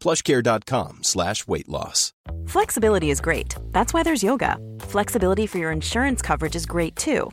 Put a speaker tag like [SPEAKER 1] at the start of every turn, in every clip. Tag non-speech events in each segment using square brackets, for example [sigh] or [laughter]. [SPEAKER 1] Plushcare.com slash weight loss.
[SPEAKER 2] Flexibility is great. That's why there's yoga. Flexibility for your insurance coverage is great too.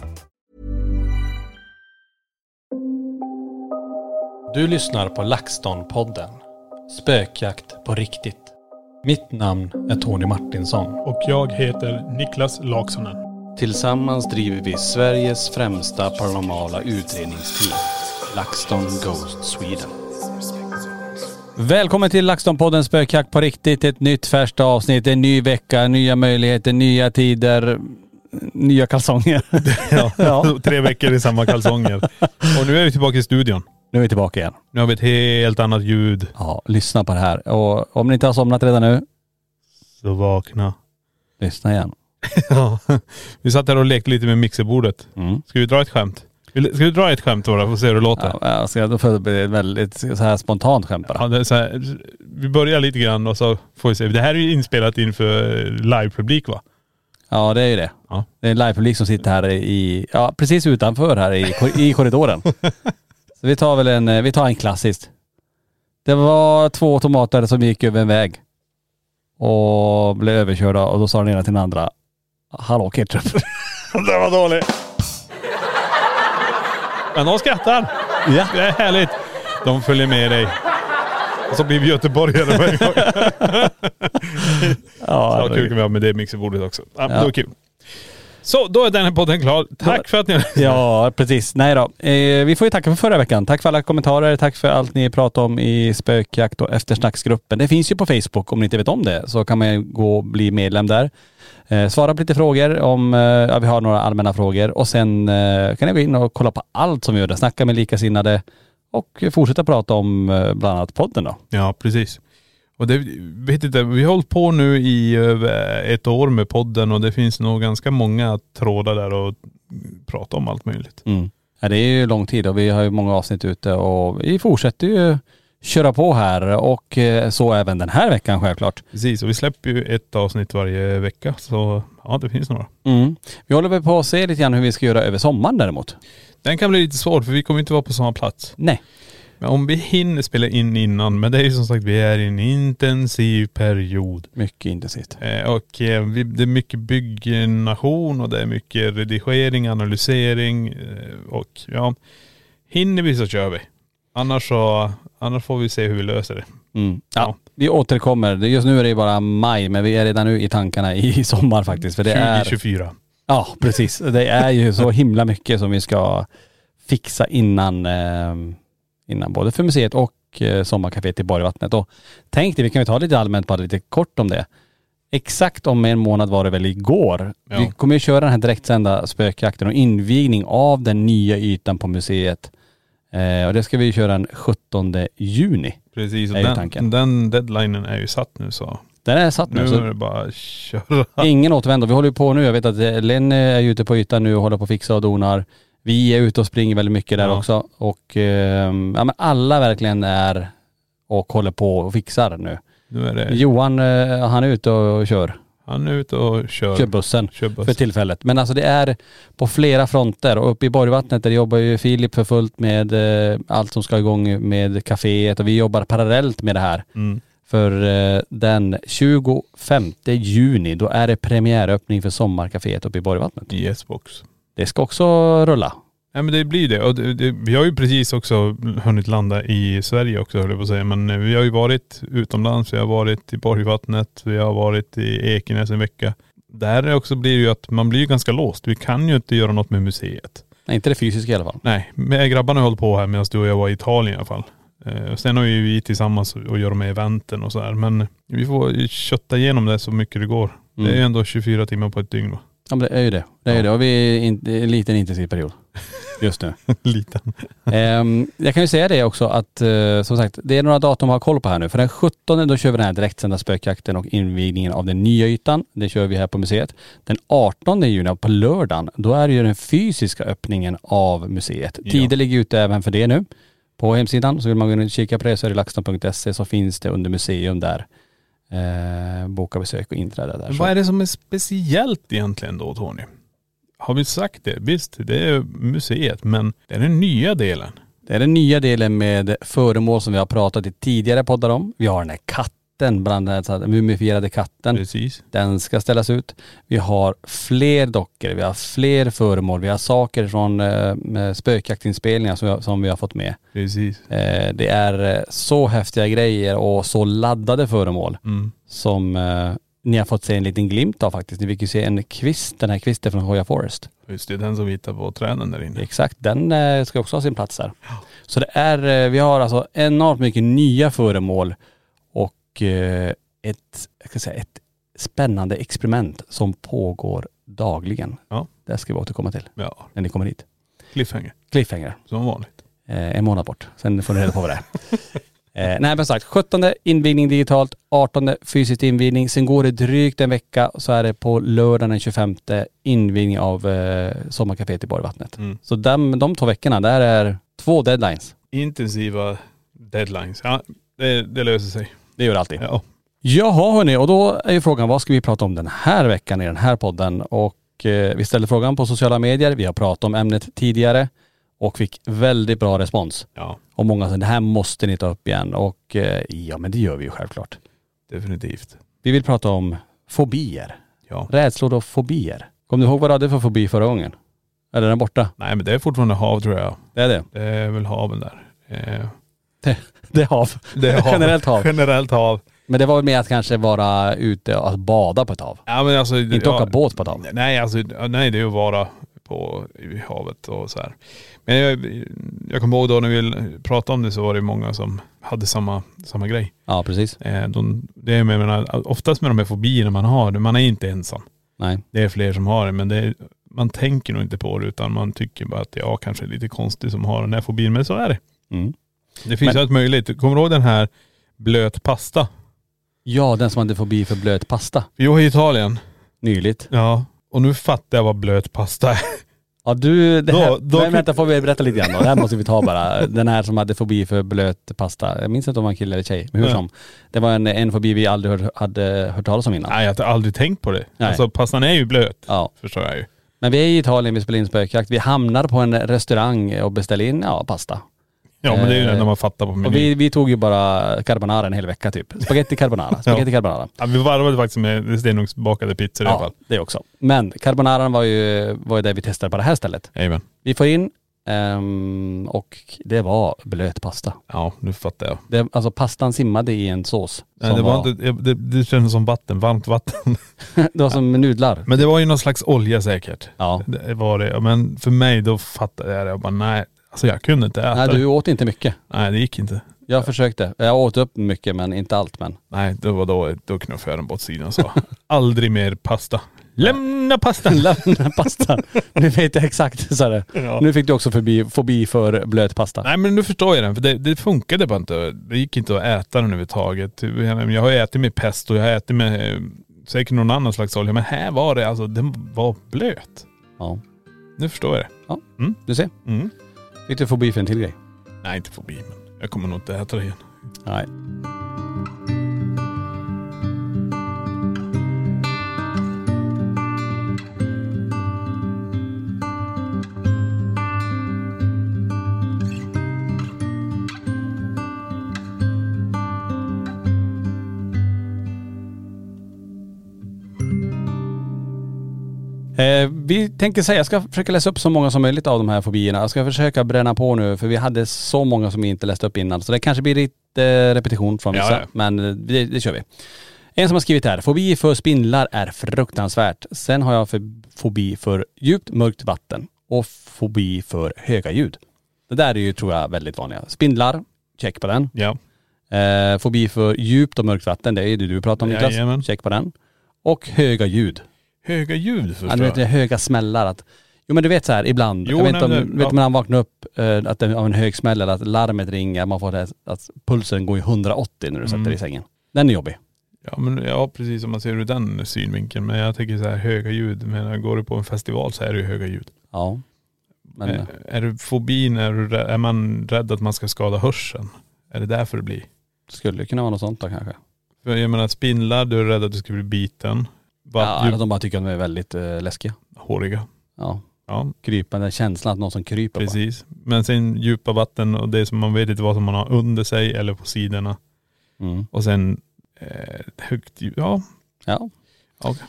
[SPEAKER 3] Du lyssnar på LaxTon-podden. Spökjakt på riktigt. Mitt namn är Tony Martinsson.
[SPEAKER 4] och jag heter Niklas Laksonen.
[SPEAKER 3] Tillsammans driver vi Sveriges främsta paranormala utredningsteam, LaxTon Ghost Sweden. Välkommen till LaxTon-podden Spökjakt på riktigt. Ett nytt färskt avsnitt, en ny vecka, nya möjligheter, nya tider, nya kalsonger.
[SPEAKER 4] Ja.
[SPEAKER 3] Ja.
[SPEAKER 4] [laughs] Tre veckor i samma kalsonger. Och nu är vi tillbaka i studion.
[SPEAKER 3] [laughs] Nu är vi tillbaka igen.
[SPEAKER 4] Nu har vi ett helt annat ljud.
[SPEAKER 3] Ja, lyssna på det här. Och om ni inte har somnat redan nu,
[SPEAKER 4] Så vakna.
[SPEAKER 3] lyssna igen.
[SPEAKER 4] Ja. [laughs] Vi satt här och lekte lite med mixerbordet.
[SPEAKER 3] Mm.
[SPEAKER 4] Ska vi dra ett skämt? Vill- Ska vi dra ett skämt då? då? Får se hur det låter.
[SPEAKER 3] Ja, alltså, jag- då får det bli ett väldigt så här spontant skämt
[SPEAKER 4] Ja,
[SPEAKER 3] bara.
[SPEAKER 4] det är så här, vi börjar lite grann och så får vi se. Det här är ju inspelat inför livepublik va?
[SPEAKER 3] Ja, det är ju det.
[SPEAKER 4] Ja.
[SPEAKER 3] Det är en livepublik som sitter här i, ja precis utanför här i, kor- i korridoren. Så vi tar väl en, eh, vi tar en klassisk. Det var två tomater som gick över en väg och blev överkörda och då sa den ena till den andra, hallå ketchup.
[SPEAKER 4] Det var dåligt. Men de skrattar.
[SPEAKER 3] Ja.
[SPEAKER 4] Det är härligt. De följer med dig. Och så blir vi göteborgare på en gång.
[SPEAKER 3] Ja,
[SPEAKER 4] [laughs] Ja, kul kan vi ha med det mixerbordet också. Ja, Det var kul. Så, då är den här podden klar. Tack för att ni
[SPEAKER 3] Ja, precis. Nej då. Eh, vi får ju tacka för förra veckan. Tack för alla kommentarer. Tack för allt ni pratade om i spökjakt och eftersnacksgruppen. Det finns ju på Facebook om ni inte vet om det. Så kan man ju gå och bli medlem där. Eh, svara på lite frågor om, eh, ja vi har några allmänna frågor. Och sen eh, kan ni gå in och kolla på allt som vi gör där. Snacka med likasinnade och fortsätta prata om eh, bland annat podden då.
[SPEAKER 4] Ja, precis. Och det, vet inte, vi har hållit på nu i över ett år med podden och det finns nog ganska många trådar där och prata om allt möjligt.
[SPEAKER 3] Mm. Ja, det är ju lång tid och vi har ju många avsnitt ute och vi fortsätter ju köra på här och eh, så även den här veckan självklart.
[SPEAKER 4] Precis, och vi släpper ju ett avsnitt varje vecka så ja, det finns några.
[SPEAKER 3] Mm. Vi håller väl på att se lite grann hur vi ska göra över sommaren däremot.
[SPEAKER 4] Den kan bli lite svår för vi kommer inte vara på samma plats.
[SPEAKER 3] Nej.
[SPEAKER 4] Men om vi hinner spela in innan, men det är ju som sagt, vi är i en intensiv period.
[SPEAKER 3] Mycket intensivt.
[SPEAKER 4] Eh, Och eh, vi- det är mycket byggnation och det är mycket redigering, analysering eh, och ja, hinner vi så kör vi. Annars så, annars får vi se hur vi löser det.
[SPEAKER 3] Mm.
[SPEAKER 4] Ja.
[SPEAKER 3] Ja, vi återkommer. Det- Just nu är det ju bara maj men vi är redan nu i tankarna i [laughs] sommar faktiskt. För det är,
[SPEAKER 4] 2024.
[SPEAKER 3] ja precis. Det är ju så himla mycket som vi ska fixa innan, eh, innan både för museet och eh, sommarkaféet i Borgvattnet. Och tänk dig, vi kan ju ta lite allmänt bara lite kort om det. Exakt om en månad var det väl igår.
[SPEAKER 4] Ja.
[SPEAKER 3] Vi kommer ju köra den här direktsända spökjakten och invigning av den nya ytan på museet. Eh, och det ska vi ju köra den 17 juni.
[SPEAKER 4] Precis, och
[SPEAKER 3] Är ju
[SPEAKER 4] den,
[SPEAKER 3] tanken.
[SPEAKER 4] den deadlinen är ju satt nu så
[SPEAKER 3] Den är satt
[SPEAKER 4] nu
[SPEAKER 3] nu.
[SPEAKER 4] är
[SPEAKER 3] Så
[SPEAKER 4] det bara att köra.
[SPEAKER 3] ingen återvändo. Vi håller ju på nu. Jag vet att eh, Lenny är ju ute på ytan nu och håller på att fixa och donar. Vi är ute och springer väldigt mycket där
[SPEAKER 4] Ja.
[SPEAKER 3] också. Och ehm, ja, men alla verkligen är och håller på och fixar nu.
[SPEAKER 4] Nu är det,
[SPEAKER 3] Johan, eh, han är ute och, och kör.
[SPEAKER 4] Han är ute och kör.
[SPEAKER 3] Kör bussen.
[SPEAKER 4] Kör buss.
[SPEAKER 3] för tillfället. Men alltså det är på flera fronter och uppe i Borgvattnet där jobbar ju Filip för fullt med eh, allt som ska igång med kaféet och vi jobbar parallellt med det här. För eh, den 25 juni då är det premiäröppning för sommarkaféet uppe i Borgvattnet.
[SPEAKER 4] I S-box.
[SPEAKER 3] Det ska också rulla.
[SPEAKER 4] Ja men det blir det. Och det, det. Vi har ju precis också hunnit landa i Sverige också höll jag på att säga. Men eh, vi har ju varit utomlands, vi har varit i Borgvattnet, vi har varit i Ekenäs en vecka. Där är också blir det ju att man blir ju ganska låst. Vi kan ju inte göra något med museet.
[SPEAKER 3] Nej, inte det fysiska i alla fall.
[SPEAKER 4] Nej, men grabbarna höll på här medan du och jag var i Italien i alla fall. Eh, och sen har ju vi tillsammans och gör de här eventen och så här. Men vi får ju kötta igenom det så mycket det går. Det är ju ändå 24 timmar på ett dygn va? [laughs]
[SPEAKER 3] Ja men det är ju det. Det är ju det. Och vi är i en- i en liten intensiv [laughs] period just nu.
[SPEAKER 4] Liten.
[SPEAKER 3] Ehm, jag kan ju säga det också att eh, som sagt, det är några datum att ha koll på här nu. För den 17 då kör vi den här direktsända spökjakten och invigningen av den nya ytan. Det kör vi här på museet. Den 18 juni på lördagen, då är det ju den fysiska öppningen av museet.
[SPEAKER 4] Ja.
[SPEAKER 3] Tider ligger ute även för det nu på hemsidan. Så vill man gå in och kika på det så är det laxton.se så finns det under museum där. Eh, boka besök och inträde där.
[SPEAKER 4] Men
[SPEAKER 3] Så-
[SPEAKER 4] vad är det som är speciellt egentligen då Tony? Har vi sagt det? Visst, det är museet, men det är den nya delen.
[SPEAKER 3] Det är den nya delen med föremål som vi har pratat i tidigare poddar om. Vi har den här katten, bland annat så här mumifierade katten.
[SPEAKER 4] Precis.
[SPEAKER 3] Den ska ställas ut. Vi har fler dockor, vi har fler föremål, vi har saker från eh, spökjaktinspelningar som, jag- som vi har fått med.
[SPEAKER 4] Precis.
[SPEAKER 3] Eh, det är eh, så häftiga grejer och så laddade föremål
[SPEAKER 4] Mm.
[SPEAKER 3] som eh, ni har fått se en liten glimt av faktiskt. Ni fick ju se en kvist, den här kvisten från Hoya Forest.
[SPEAKER 4] Just det, den som vi hittar på träden där inne.
[SPEAKER 3] Exakt, den eh, ska också ha sin plats där. Så det är, eh, vi har alltså enormt mycket nya föremål och eh, ett, jag ska säga, ett spännande experiment som pågår dagligen.
[SPEAKER 4] Ja.
[SPEAKER 3] Det ska vi återkomma till
[SPEAKER 4] Ja,
[SPEAKER 3] när ni kommer hit.
[SPEAKER 4] cliffhanger.
[SPEAKER 3] Cliffhanger,
[SPEAKER 4] Som vanligt.
[SPEAKER 3] eh, en månad bort. Sen får ni reda på vad [laughs] det är. Eh, nej men sagt, 17 invigning digitalt, 18 fysisk invigning. Sen går det drygt en vecka och så är det på lördagen den 25 invigning av eh, sommarkaféet i Borgvattnet.
[SPEAKER 4] Mm.
[SPEAKER 3] Så dem, de två veckorna, där är två deadlines.
[SPEAKER 4] Intensiva deadlines. Ja, det, det löser sig.
[SPEAKER 3] Det gör det alltid.
[SPEAKER 4] Ja.
[SPEAKER 3] Jaha hörni, och då är ju frågan vad ska vi prata om den här veckan i den här podden? Och eh, vi ställde frågan på sociala medier, vi har pratat om ämnet tidigare och fick väldigt bra respons.
[SPEAKER 4] ja,
[SPEAKER 3] Och många sa det här måste ni ta upp igen och eh, ja men det gör vi ju självklart.
[SPEAKER 4] definitivt.
[SPEAKER 3] Vi vill prata om fobier.
[SPEAKER 4] Ja.
[SPEAKER 3] Rädslor och fobier. Kommer du ihåg vad du hade för fobi förra gången? Eller är den borta?
[SPEAKER 4] Nej men det är fortfarande hav tror jag.
[SPEAKER 3] Det är det.
[SPEAKER 4] Det är väl haven där. Eh,
[SPEAKER 3] Det är hav. [laughs]
[SPEAKER 4] det är hav.
[SPEAKER 3] Generellt hav.
[SPEAKER 4] Generellt hav.
[SPEAKER 3] Men det var väl mer att kanske vara ute och bada på ett hav.
[SPEAKER 4] Ja men alltså..
[SPEAKER 3] Inte
[SPEAKER 4] ja,
[SPEAKER 3] åka båt på ett hav.
[SPEAKER 4] Nej alltså, nej det är att vara på i havet och så här. Men jag, jag kommer ihåg då när vi pratade om det så var det många som hade samma, samma grej.
[SPEAKER 3] Ja precis.
[SPEAKER 4] Eh, De, det är med, jag menar, oftast med de här fobierna man har, man är inte ensam.
[SPEAKER 3] Nej.
[SPEAKER 4] Det är fler som har det men det är, man tänker nog inte på det utan man tycker bara att jag kanske är lite konstig som har den här fobin. Men så är det.
[SPEAKER 3] Mm.
[SPEAKER 4] Det finns
[SPEAKER 3] Men-
[SPEAKER 4] allt möjligt. Kommer du ihåg den här blöt pasta?
[SPEAKER 3] Ja den som hade fobi för blöt pasta.
[SPEAKER 4] Vi var i Italien.
[SPEAKER 3] Nyligt.
[SPEAKER 4] Ja. Och nu fattar jag vad blöt pasta är.
[SPEAKER 3] Ja du, det här,
[SPEAKER 4] Då- då-
[SPEAKER 3] men vänta får vi berätta lite grann då. Det här måste vi ta bara. Den här som hade fobi för blöt pasta. Jag minns inte om det var en kille eller tjej, men hur
[SPEAKER 4] Nej.
[SPEAKER 3] som. Det var en, en fobi vi aldrig hör, hade hört talas om innan.
[SPEAKER 4] Nej jag har aldrig tänkt på det.
[SPEAKER 3] Nej.
[SPEAKER 4] Alltså pastan är ju blöt.
[SPEAKER 3] Ja.
[SPEAKER 4] Förstår jag ju.
[SPEAKER 3] Men vi är i Italien, vi spelar in spökjakt. Vi hamnar på en restaurang och beställer in, ja pasta.
[SPEAKER 4] Ja men det är ju
[SPEAKER 3] Eh,
[SPEAKER 4] det enda man fattar på menyn.
[SPEAKER 3] Och vi, vi tog ju bara carbonara en hel vecka typ. Spaghetti carbonara, spaghetti carbonara.
[SPEAKER 4] ja, vi varvade faktiskt med stenugnsbakade pizzor i alla
[SPEAKER 3] Ja,
[SPEAKER 4] fall.
[SPEAKER 3] det också. Men carbonaran var ju, var ju det vi testade på det här stället.
[SPEAKER 4] Jajamän.
[SPEAKER 3] Vi får in ehm, och det var blöt pasta.
[SPEAKER 4] Ja nu fattar jag.
[SPEAKER 3] Det, alltså pastan simmade i en sås.
[SPEAKER 4] Nej,
[SPEAKER 3] som
[SPEAKER 4] det, var Inte, det, det kändes som vatten, varmt vatten.
[SPEAKER 3] [laughs]
[SPEAKER 4] [laughs]
[SPEAKER 3] det var som nudlar.
[SPEAKER 4] Men det var ju någon slags olja säkert.
[SPEAKER 3] Ja.
[SPEAKER 4] Det var det. Ja, Men för mig då fattade jag det. Jag bara nej. Alltså jag kunde inte äta
[SPEAKER 3] Nej
[SPEAKER 4] det.
[SPEAKER 3] du åt inte mycket.
[SPEAKER 4] Nej det gick inte.
[SPEAKER 3] Jag försökte. Jag åt upp mycket men inte allt men. [laughs]
[SPEAKER 4] Nej det var då, då knuffade jag den åt sidan och sa [laughs] aldrig mer pasta. Lämna
[SPEAKER 3] [laughs]
[SPEAKER 4] pastan!
[SPEAKER 3] Lämna pastan. Nu vet jag exakt. Så är det.
[SPEAKER 4] Ja.
[SPEAKER 3] Nu fick du också förbi, fobi för blöt pasta.
[SPEAKER 4] Nej men nu förstår jag den, för det, det funkade bara inte. Det gick inte att äta den överhuvudtaget. Jag har ju ätit med pesto, jag har ätit med eh, säkert någon annan slags olja. Men här var det alltså, den var blöt.
[SPEAKER 3] Ja.
[SPEAKER 4] Nu förstår jag det.
[SPEAKER 3] Du ser.
[SPEAKER 4] Mm.
[SPEAKER 3] Fick du fobi för en till grej.
[SPEAKER 4] Nej inte fobi, men jag kommer nog inte äta det igen.
[SPEAKER 3] Nej. Eh, vi tänker säga, jag ska försöka läsa upp så många som möjligt av de här fobierna. Jag ska försöka bränna på nu för vi hade så många som vi inte läste upp innan. Så det kanske blir lite eh, repetition från
[SPEAKER 4] Ja,
[SPEAKER 3] vissa.
[SPEAKER 4] ja.
[SPEAKER 3] Men eh, det, det kör vi. En som har skrivit här, fobi för spindlar är fruktansvärt. Sen har jag för, fobi för djupt mörkt vatten och fobi för höga ljud. Det där är ju tror jag väldigt vanliga. Spindlar, check på den.
[SPEAKER 4] Ja.
[SPEAKER 3] Eh, fobi för djupt och mörkt vatten, det är ju det du pratar om Niklas.
[SPEAKER 4] Jajamän.
[SPEAKER 3] Check på den. Och höga ljud.
[SPEAKER 4] Höga ljud
[SPEAKER 3] Ja, du
[SPEAKER 4] förstår
[SPEAKER 3] vet, det är
[SPEAKER 4] jag.
[SPEAKER 3] höga smällar. Att, jo men du vet så här ibland,
[SPEAKER 4] Jo,
[SPEAKER 3] jag vet
[SPEAKER 4] nej,
[SPEAKER 3] inte om,
[SPEAKER 4] men det-
[SPEAKER 3] vet
[SPEAKER 4] ja.
[SPEAKER 3] om när han vaknar upp eh, att det är av en hög smäll eller att larmet ringer, man får det, här- att pulsen går i 180 när du sätter
[SPEAKER 4] Mm.
[SPEAKER 3] dig i sängen. Den är jobbig.
[SPEAKER 4] Ja, men, ja precis om man ser ur den synvinkeln. Men jag tänker så här höga ljud. Men går du på en festival så är det ju höga ljud.
[SPEAKER 3] Ja. Men,
[SPEAKER 4] Är, är du fobin, är, du, rä- är man rädd att man ska skada hörseln? Är det därför det blir?
[SPEAKER 3] Skulle kunna vara något sånt då kanske.
[SPEAKER 4] För jag menar spindlar, du är rädd att du ska bli biten.
[SPEAKER 3] Ja,
[SPEAKER 4] Vattljud,
[SPEAKER 3] att de bara tycker att de är väldigt eh, läskiga.
[SPEAKER 4] håriga.
[SPEAKER 3] Ja.
[SPEAKER 4] Ja,
[SPEAKER 3] Krypande känslan att någon som kryper bara.
[SPEAKER 4] precis. Men sen djupa vatten och det som man vet inte vad som man har under sig eller på sidorna.
[SPEAKER 3] Mm.
[SPEAKER 4] Och sen eh, högt ljud. Ja,
[SPEAKER 3] Ja.
[SPEAKER 4] okej.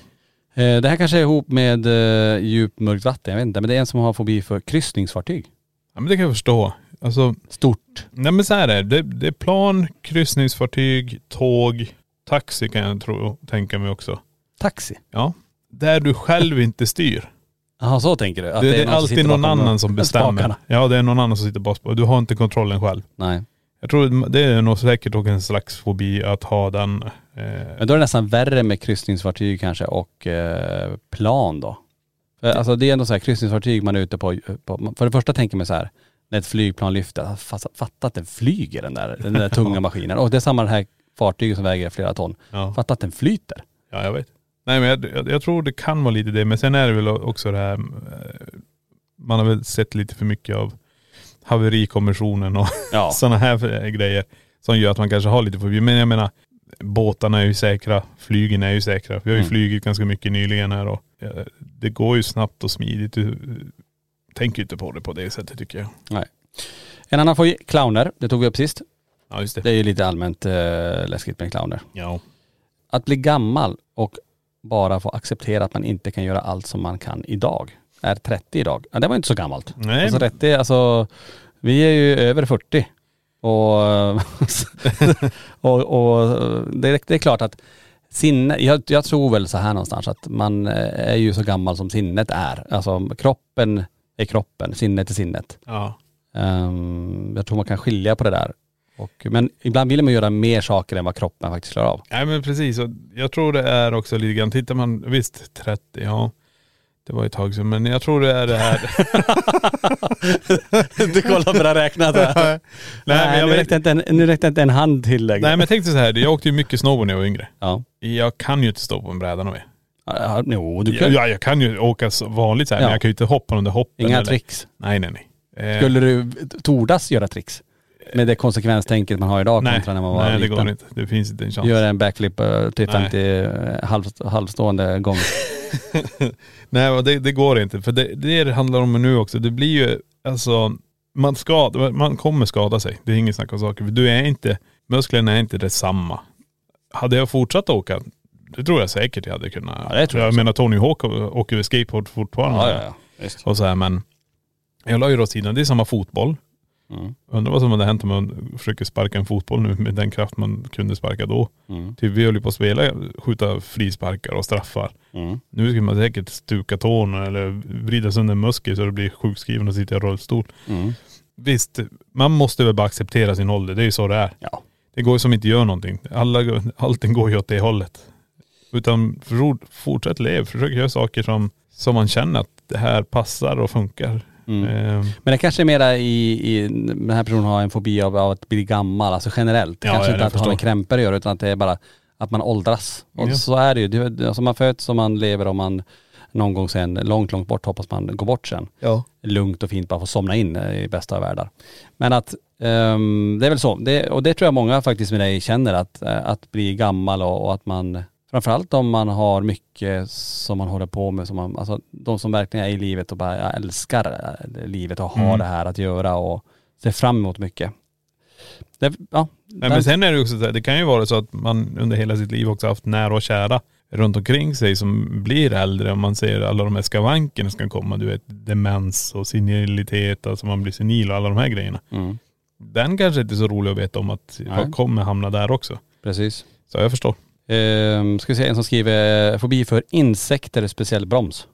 [SPEAKER 3] Eh, det här kanske är ihop med eh, djupt mörkt vatten, jag vet inte. Men det är en som har fobi för kryssningsfartyg.
[SPEAKER 4] ja men det kan jag förstå. Alltså,
[SPEAKER 3] Stort.
[SPEAKER 4] nej men så här är det. det. Det är plan, kryssningsfartyg, tåg, taxi kan jag tro, tänka mig också.
[SPEAKER 3] Taxi.
[SPEAKER 4] Ja. Där du själv inte styr.
[SPEAKER 3] Jaha så tänker du? [laughs] Att
[SPEAKER 4] det,
[SPEAKER 3] är
[SPEAKER 4] det är
[SPEAKER 3] någon som
[SPEAKER 4] alltid
[SPEAKER 3] sitter
[SPEAKER 4] någon
[SPEAKER 3] bakom
[SPEAKER 4] annan som bestämmer.
[SPEAKER 3] spakarna.
[SPEAKER 4] Ja, det är någon annan som sitter bakom. och Du har inte kontrollen själv.
[SPEAKER 3] Nej.
[SPEAKER 4] Jag tror det är nog säkert också en slags fobi att ha den. Eh,
[SPEAKER 3] Men då är det nästan värre med kryssningsfartyg kanske och eh, plan då. För, Alltså det är ändå så här kryssningsfartyg man är ute på, på. För det första tänker man så här, när ett flygplan lyfter, fatta, fatta att den flyger den där, den där tunga maskinen. Och det är samma det här fartyget som väger flera ton.
[SPEAKER 4] ja.
[SPEAKER 3] Fatta att den flyter.
[SPEAKER 4] ja, jag vet. Nej men jag, jag, jag tror det kan vara lite det. Men sen är det väl också det här, eh, man har väl sett lite för mycket av haverikommissionen och [laughs]
[SPEAKER 3] Ja.
[SPEAKER 4] sådana här eh, grejer. Som gör att man kanske har lite fobi. Men jag menar, båtarna är ju säkra, flygen är ju säkra. Vi har ju
[SPEAKER 3] Mm.
[SPEAKER 4] flugit ganska mycket nyligen här och eh, det går ju snabbt och smidigt. Du eh, tänker ju inte på det på det sättet tycker jag.
[SPEAKER 3] En annan får ju clowner, det tog vi upp sist.
[SPEAKER 4] Ja just
[SPEAKER 3] Det är ju lite allmänt eh, läskigt med clowner.
[SPEAKER 4] Ja.
[SPEAKER 3] Att bli gammal och bara få acceptera att man inte kan göra allt som man kan idag. Är 30 idag. Ja, det var inte så gammalt.
[SPEAKER 4] Nej.
[SPEAKER 3] Alltså 30, alltså vi är ju över 40. Och, [laughs] och, och det, är- det är klart att sinne, jag, jag tror väl så här någonstans att man eh, är ju så gammal som sinnet är. Alltså kroppen är kroppen, sinnet är sinnet.
[SPEAKER 4] ja.
[SPEAKER 3] Ehm, jag tror man kan skilja på det där. Och, men ibland vill man göra mer saker än vad kroppen faktiskt klarar av.
[SPEAKER 4] Nej men precis. Och Jag tror det är också lite grann, tittar man, visst 30, ja. Det var ju ett tag sedan, men jag tror det är det
[SPEAKER 3] [laughs]
[SPEAKER 4] här.
[SPEAKER 3] Du kollar på det räknat
[SPEAKER 4] [laughs]
[SPEAKER 3] här. Nej,
[SPEAKER 4] men jag
[SPEAKER 3] nu,
[SPEAKER 4] vet-
[SPEAKER 3] räckte inte en, nu räckte inte en hand till längre.
[SPEAKER 4] Nej men jag tänkte så här, jag åkte ju mycket snowboard när jag var yngre.
[SPEAKER 3] Ja.
[SPEAKER 4] Jag kan ju inte stå på en bräda någon mer.
[SPEAKER 3] Ja, Jo, du kan.
[SPEAKER 4] Ja, jag kan ju åka så vanligt så här,
[SPEAKER 3] Ja.
[SPEAKER 4] men jag kan ju inte hoppa de där hoppen.
[SPEAKER 3] Inga
[SPEAKER 4] eller-
[SPEAKER 3] tricks.
[SPEAKER 4] Nej, nej, nej. Eh,
[SPEAKER 3] Skulle du tordas göra tricks? Med det konsekvenstänket man har idag
[SPEAKER 4] nej,
[SPEAKER 3] kontra när man var
[SPEAKER 4] nej det
[SPEAKER 3] liten.
[SPEAKER 4] går inte. Det finns inte en chans.
[SPEAKER 3] Göra en backflip eh, till
[SPEAKER 4] Nej.
[SPEAKER 3] 50 eh, halv, halvstående gång.
[SPEAKER 4] Nej, och det, det går inte. För det, det är det handlar om nu också. Det blir ju, alltså, man, skad, man kommer skada sig. Det är inget snack om saker. För du är inte, musklerna är inte detsamma. Hade jag fortsatt åka, det tror jag säkert jag hade kunnat.
[SPEAKER 3] Ja, det tror jag också.
[SPEAKER 4] menar Tony Hawk åker ju skateboard fortfarande.
[SPEAKER 3] Visst.
[SPEAKER 4] Och så här, men jag la ju då åt sidan, det är samma fotboll.
[SPEAKER 3] Mm.
[SPEAKER 4] Undrar vad som hade hänt om man försöker sparka en fotboll nu med den kraft man kunde sparka då.
[SPEAKER 3] Mm.
[SPEAKER 4] Typ vi höll ju på att spela, skjuta frisparkar och straffar.
[SPEAKER 3] Mm.
[SPEAKER 4] Nu skulle man säkert stuka tån eller vrida sönder en muskel så det blir sjukskriven och sitta i rullstol.
[SPEAKER 3] Mm.
[SPEAKER 4] Visst, man måste väl bara acceptera sin ålder. Det är ju så det är.
[SPEAKER 3] Ja.
[SPEAKER 4] Det går ju som inte gör någonting. Alla, går- allting går ju åt det hållet. Utan for- fortsätt lev. Försök göra saker som, som man känner att det här passar och funkar.
[SPEAKER 3] Mm.
[SPEAKER 4] Ehm,
[SPEAKER 3] Men det kanske är mera i, i, den här personen har en fobi av, av att bli gammal, alltså generellt. Det
[SPEAKER 4] Ja,
[SPEAKER 3] kanske
[SPEAKER 4] ja,
[SPEAKER 3] inte
[SPEAKER 4] jag
[SPEAKER 3] att det har
[SPEAKER 4] förstår.
[SPEAKER 3] med krämpor att göra utan att det är bara att man åldras. Och
[SPEAKER 4] Ja.
[SPEAKER 3] så är det ju. Det- det- Alltså man föds och man lever och man någon gång sen, långt, långt bort hoppas man går bort sen.
[SPEAKER 4] Ja.
[SPEAKER 3] Lugnt och fint bara få somna in eh, i bästa av världar. Men att ehm, det är väl så. Det, och det tror jag många faktiskt med dig känner att, eh, att bli gammal och, och att man Framförallt om man har mycket som man håller på med, som man, alltså de som verkligen är i livet och bara jag älskar eh, livet och har
[SPEAKER 4] Mm.
[SPEAKER 3] det här att göra och ser fram emot mycket. Det, ja,
[SPEAKER 4] Nej,
[SPEAKER 3] där-
[SPEAKER 4] men sen är det ju också så här, det kan ju vara så att man under hela sitt liv också haft nära och kära runt omkring sig som blir äldre. Om man ser alla de här skavankerna som kan komma. Du vet demens och senilitet, alltså man blir senil och alla de här grejerna.
[SPEAKER 3] Mm.
[SPEAKER 4] Den kanske inte är så rolig att veta om att
[SPEAKER 3] Nej.
[SPEAKER 4] jag kommer hamna där också.
[SPEAKER 3] Precis.
[SPEAKER 4] Så jag förstår.
[SPEAKER 3] Ehm, ska vi se en som skriver, eh, fobi för insekter, speciell broms.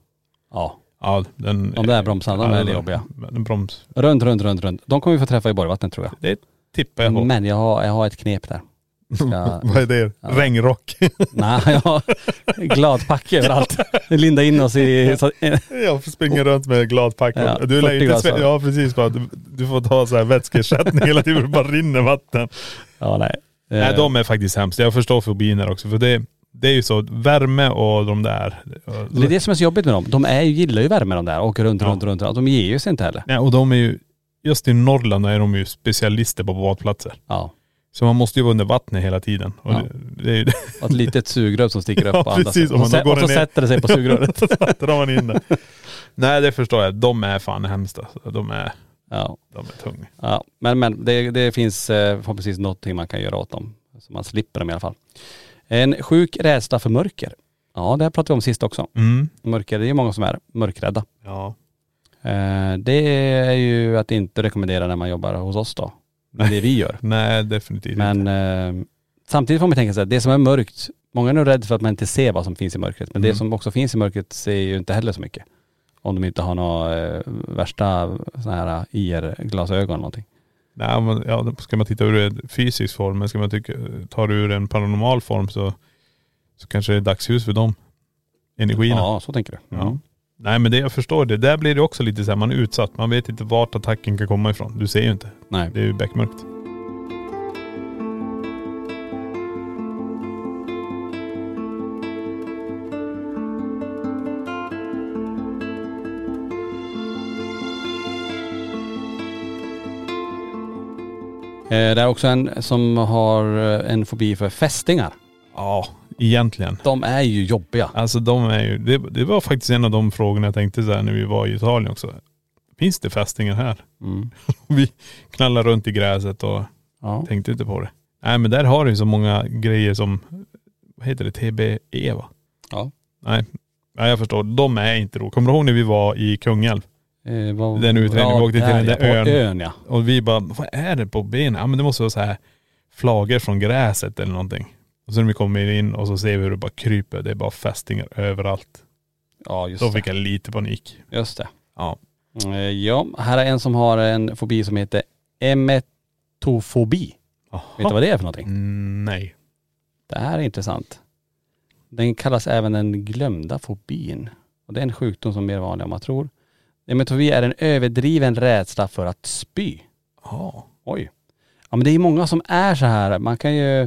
[SPEAKER 3] Ja.
[SPEAKER 4] Ja, den,
[SPEAKER 3] De där bromsarna, de
[SPEAKER 4] ja,
[SPEAKER 3] är
[SPEAKER 4] den-
[SPEAKER 3] jobbiga.
[SPEAKER 4] Den broms,
[SPEAKER 3] Runt, runt, runt, runt. De kommer vi få träffa i Borgvattnet tror jag.
[SPEAKER 4] det tippar jag på.
[SPEAKER 3] Men jag har, jag har ett knep där. Ska...
[SPEAKER 4] Vad är det? Regnrock?
[SPEAKER 3] Nej, [laughs] jag har gladpack överallt. Linda in oss i... Så...
[SPEAKER 4] Jag får springa runt med glad packel.
[SPEAKER 3] Ja,
[SPEAKER 4] du lär ju
[SPEAKER 3] 40
[SPEAKER 4] inte
[SPEAKER 3] glasar.
[SPEAKER 4] sve- Ja precis, bara, du, du får ta så här vätskeersättning hela tiden, [laughs] det bara rinner vatten.
[SPEAKER 3] Ja, nej.
[SPEAKER 4] Nej de är faktiskt hemskt. Jag förstår fobin här också. För det, det är ju så, värme och de där.
[SPEAKER 3] Eh, Det är det som är så jobbigt med dem. De är, ju- gillar ju värme de där. Åker runt, runt, runt, runt. De ger ju sig inte heller.
[SPEAKER 4] Nej, och de är ju, just i Norrland är de ju specialister på badplatser.
[SPEAKER 3] Ja.
[SPEAKER 4] Så man måste ju vara under vattnet hela tiden. Och
[SPEAKER 3] Ja.
[SPEAKER 4] det, det är ju [laughs] det.
[SPEAKER 3] Och ett litet sugrör som sticker upp
[SPEAKER 4] Ja,
[SPEAKER 3] och andas.
[SPEAKER 4] precis.
[SPEAKER 3] Och,
[SPEAKER 4] Om man
[SPEAKER 3] så,
[SPEAKER 4] då går
[SPEAKER 3] och så
[SPEAKER 4] ner.
[SPEAKER 3] sätter det sig
[SPEAKER 4] [laughs]
[SPEAKER 3] på sugröret.
[SPEAKER 4] Så drar man
[SPEAKER 3] [laughs]
[SPEAKER 4] in det. Nej det förstår jag. De är fan hemskt alltså. De är,
[SPEAKER 3] Ja.
[SPEAKER 4] de är tunga.
[SPEAKER 3] ja. Men, men det, det finns eh, förhoppningsvis någonting man kan göra åt dem. Så man slipper dem i alla fall. En sjuk rädsla för mörker. Ja, det här pratade vi om sist också.
[SPEAKER 4] Mm.
[SPEAKER 3] Mörker, det är ju många som är mörkrädda.
[SPEAKER 4] Ja.
[SPEAKER 3] Eh, Det är ju att inte rekommendera när man jobbar hos oss då. Men det vi
[SPEAKER 4] [laughs]
[SPEAKER 3] gör.
[SPEAKER 4] Nej definitivt inte.
[SPEAKER 3] Men eh, samtidigt får man tänka sig att det som är mörkt, många är nog rädda för att man inte ser vad som finns i mörkret. Men det
[SPEAKER 4] Mm.
[SPEAKER 3] som också finns i mörkret ser ju inte heller så mycket. Om de inte har några eh, värsta sådana här eh, IR-glasögon eller någonting.
[SPEAKER 4] Nej, men, ja, då ska man titta ur en fysisk form, men ska man tycka, ta det ur en paranormal form så, så kanske det är dagsljus för dem. Energierna.
[SPEAKER 3] Ja, så tänker du.
[SPEAKER 4] Ja.
[SPEAKER 3] Mm.
[SPEAKER 4] Nej men det jag förstår det. Där blir det också lite så här, man är utsatt. Man vet inte vart attacken kan komma ifrån. Du ser ju inte.
[SPEAKER 3] Nej.
[SPEAKER 4] Det är ju beckmörkt.
[SPEAKER 3] Eh, Det är också en som har eh, en fobi för fästingar.
[SPEAKER 4] Ja, egentligen.
[SPEAKER 3] De är ju jobbiga.
[SPEAKER 4] Alltså de är ju, det, det var faktiskt en av de frågorna jag tänkte så här när vi var i Italien också. Finns det fästingar här?
[SPEAKER 3] Mm.
[SPEAKER 4] [laughs] Vi knallar runt i gräset och
[SPEAKER 3] Ja.
[SPEAKER 4] Tänkte inte på det. Nej men där har du ju så många grejer som, vad heter det, TBE va?
[SPEAKER 3] Ja.
[SPEAKER 4] Nej, Nej jag förstår. De är inte roliga. Kommer du ihåg när vi var i Kungälv?
[SPEAKER 3] Eh, vad-
[SPEAKER 4] Den utredningen, vi åkte till
[SPEAKER 3] där,
[SPEAKER 4] den där
[SPEAKER 3] ja, på
[SPEAKER 4] ön.
[SPEAKER 3] ön ja.
[SPEAKER 4] Och vi bara, vad är det på benen? Ja men det måste vara så här flagor från gräset eller någonting. Och sen när vi kommer in och så ser vi hur det bara kryper. Det är bara fästingar överallt.
[SPEAKER 3] Ja just
[SPEAKER 4] Då
[SPEAKER 3] det.
[SPEAKER 4] fick jag lite panik.
[SPEAKER 3] Just det.
[SPEAKER 4] Ja.
[SPEAKER 3] Eh, Ja, här är en som har en fobi som heter emetofobi. Vet du vad det är för någonting?
[SPEAKER 4] Mm, Nej.
[SPEAKER 3] Det här är intressant. Den kallas även den glömda fobin. Och det är en sjukdom som är mer vanlig än man tror. Emetofobi är en överdriven rädsla för att spy.
[SPEAKER 4] Ja.
[SPEAKER 3] Oj. Ja men det är ju många som är så här, man kan ju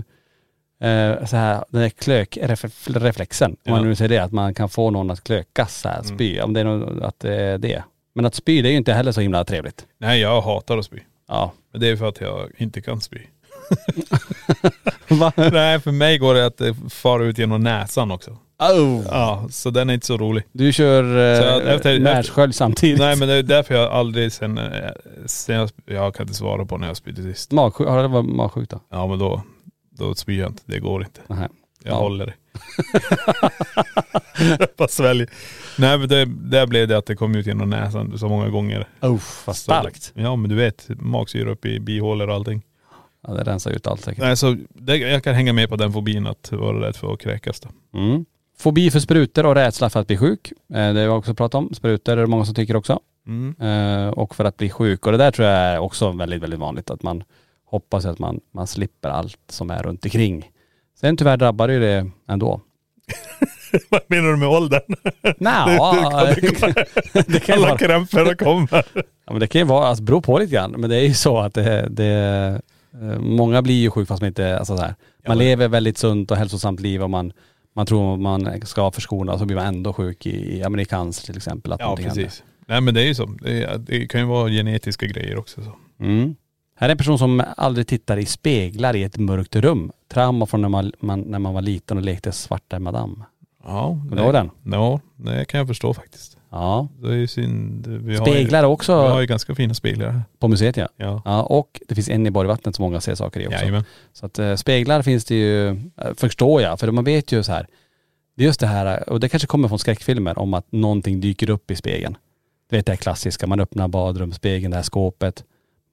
[SPEAKER 3] eh, så här, den där klökreflexen, om man
[SPEAKER 4] Ja. Mm.
[SPEAKER 3] nu säger det, att man kan få någon att klökas så här, spy, om det är något, att det är det. Men att spy det är ju inte heller så himla trevligt.
[SPEAKER 4] Nej jag hatar att spy.
[SPEAKER 3] Ja.
[SPEAKER 4] Men det är för att jag inte kan spy.
[SPEAKER 3] [laughs]
[SPEAKER 4] [laughs]
[SPEAKER 3] Va?
[SPEAKER 4] Nej för mig går det att det far ut genom näsan också.
[SPEAKER 3] Oh.
[SPEAKER 4] Ja, så den är inte så rolig.
[SPEAKER 3] Du kör
[SPEAKER 4] Så jag-
[SPEAKER 3] eh,
[SPEAKER 4] efter-
[SPEAKER 3] närskölj samtidigt.
[SPEAKER 4] [laughs] Nej men det är därför jag aldrig sen, eh, sen jag, sp- jag kan inte svara på när jag spydde sist.
[SPEAKER 3] Magsjuk, har det varit magsjuk då?
[SPEAKER 4] Ja men då, då spyr jag inte. Det går inte.
[SPEAKER 3] Nej.
[SPEAKER 4] Jag
[SPEAKER 3] Ja.
[SPEAKER 4] håller det. [laughs] jag bara sväljer. Nej men det, där blev det att det kom ut genom näsan så många gånger.
[SPEAKER 3] Uff, vad
[SPEAKER 4] Så det-
[SPEAKER 3] starkt.
[SPEAKER 4] Ja men du vet, magsyra upp i bihålor och allting.
[SPEAKER 3] Ja, det rensar ut allt säkert.
[SPEAKER 4] Nej så det, jag kan hänga med på den fobin att vara rädd för att kräkas då.
[SPEAKER 3] Mm. Fobi för sprutor och rädsla för att bli sjuk. Eh, Det har vi också pratat om. Sprutor är det många som tycker också.
[SPEAKER 4] Mm.
[SPEAKER 3] Eh, och för att bli sjuk. Och det där tror jag är också väldigt, väldigt vanligt. Att man hoppas att man, man slipper allt som är runt omkring. Sen tyvärr drabbar det ju det ändå.
[SPEAKER 4] [laughs] [laughs] Vad menar du med åldern?
[SPEAKER 3] Nja,
[SPEAKER 4] [laughs]
[SPEAKER 3] det kan ju
[SPEAKER 4] Alla
[SPEAKER 3] vara,
[SPEAKER 4] krämporna kommer.
[SPEAKER 3] ja, men det kan ju vara, alltså bero på lite grann. Men det är ju så att det, det eh, många blir ju sjuka fast man inte, alltså så här. Man lever väldigt sunt och hälsosamt liv och man, man tror man ska förskona så blir man ändå sjuk i, i amerikansk till exempel. Att
[SPEAKER 4] Ja
[SPEAKER 3] någonting händer.
[SPEAKER 4] precis. Nej men det är ju så. Det, är- det kan ju vara genetiska grejer också. Så.
[SPEAKER 3] Mm. Här är en person som aldrig tittar i speglar i ett mörkt rum. Trauma från när man, man, när man var liten och lekte svarta madam.
[SPEAKER 4] Ja.
[SPEAKER 3] Kommer du ihåg den?
[SPEAKER 4] Ja, det kan jag förstå faktiskt.
[SPEAKER 3] Ja.
[SPEAKER 4] Det är ju synd. Vi
[SPEAKER 3] Speglar också
[SPEAKER 4] Har ju, vi har ju ganska fina speglar här.
[SPEAKER 3] på museet ja.
[SPEAKER 4] Ja.
[SPEAKER 3] ja. Och det finns en i Borgvattnet som många ser saker i också.
[SPEAKER 4] Jajamän.
[SPEAKER 3] Så att eh, speglar finns det ju, eh, förstår jag, för man vet ju så här. Det är just det här, och det kanske kommer från skräckfilmer, om att någonting dyker upp i spegeln. Du vet det här klassiska, man öppnar badrumsspegeln, det här skåpet,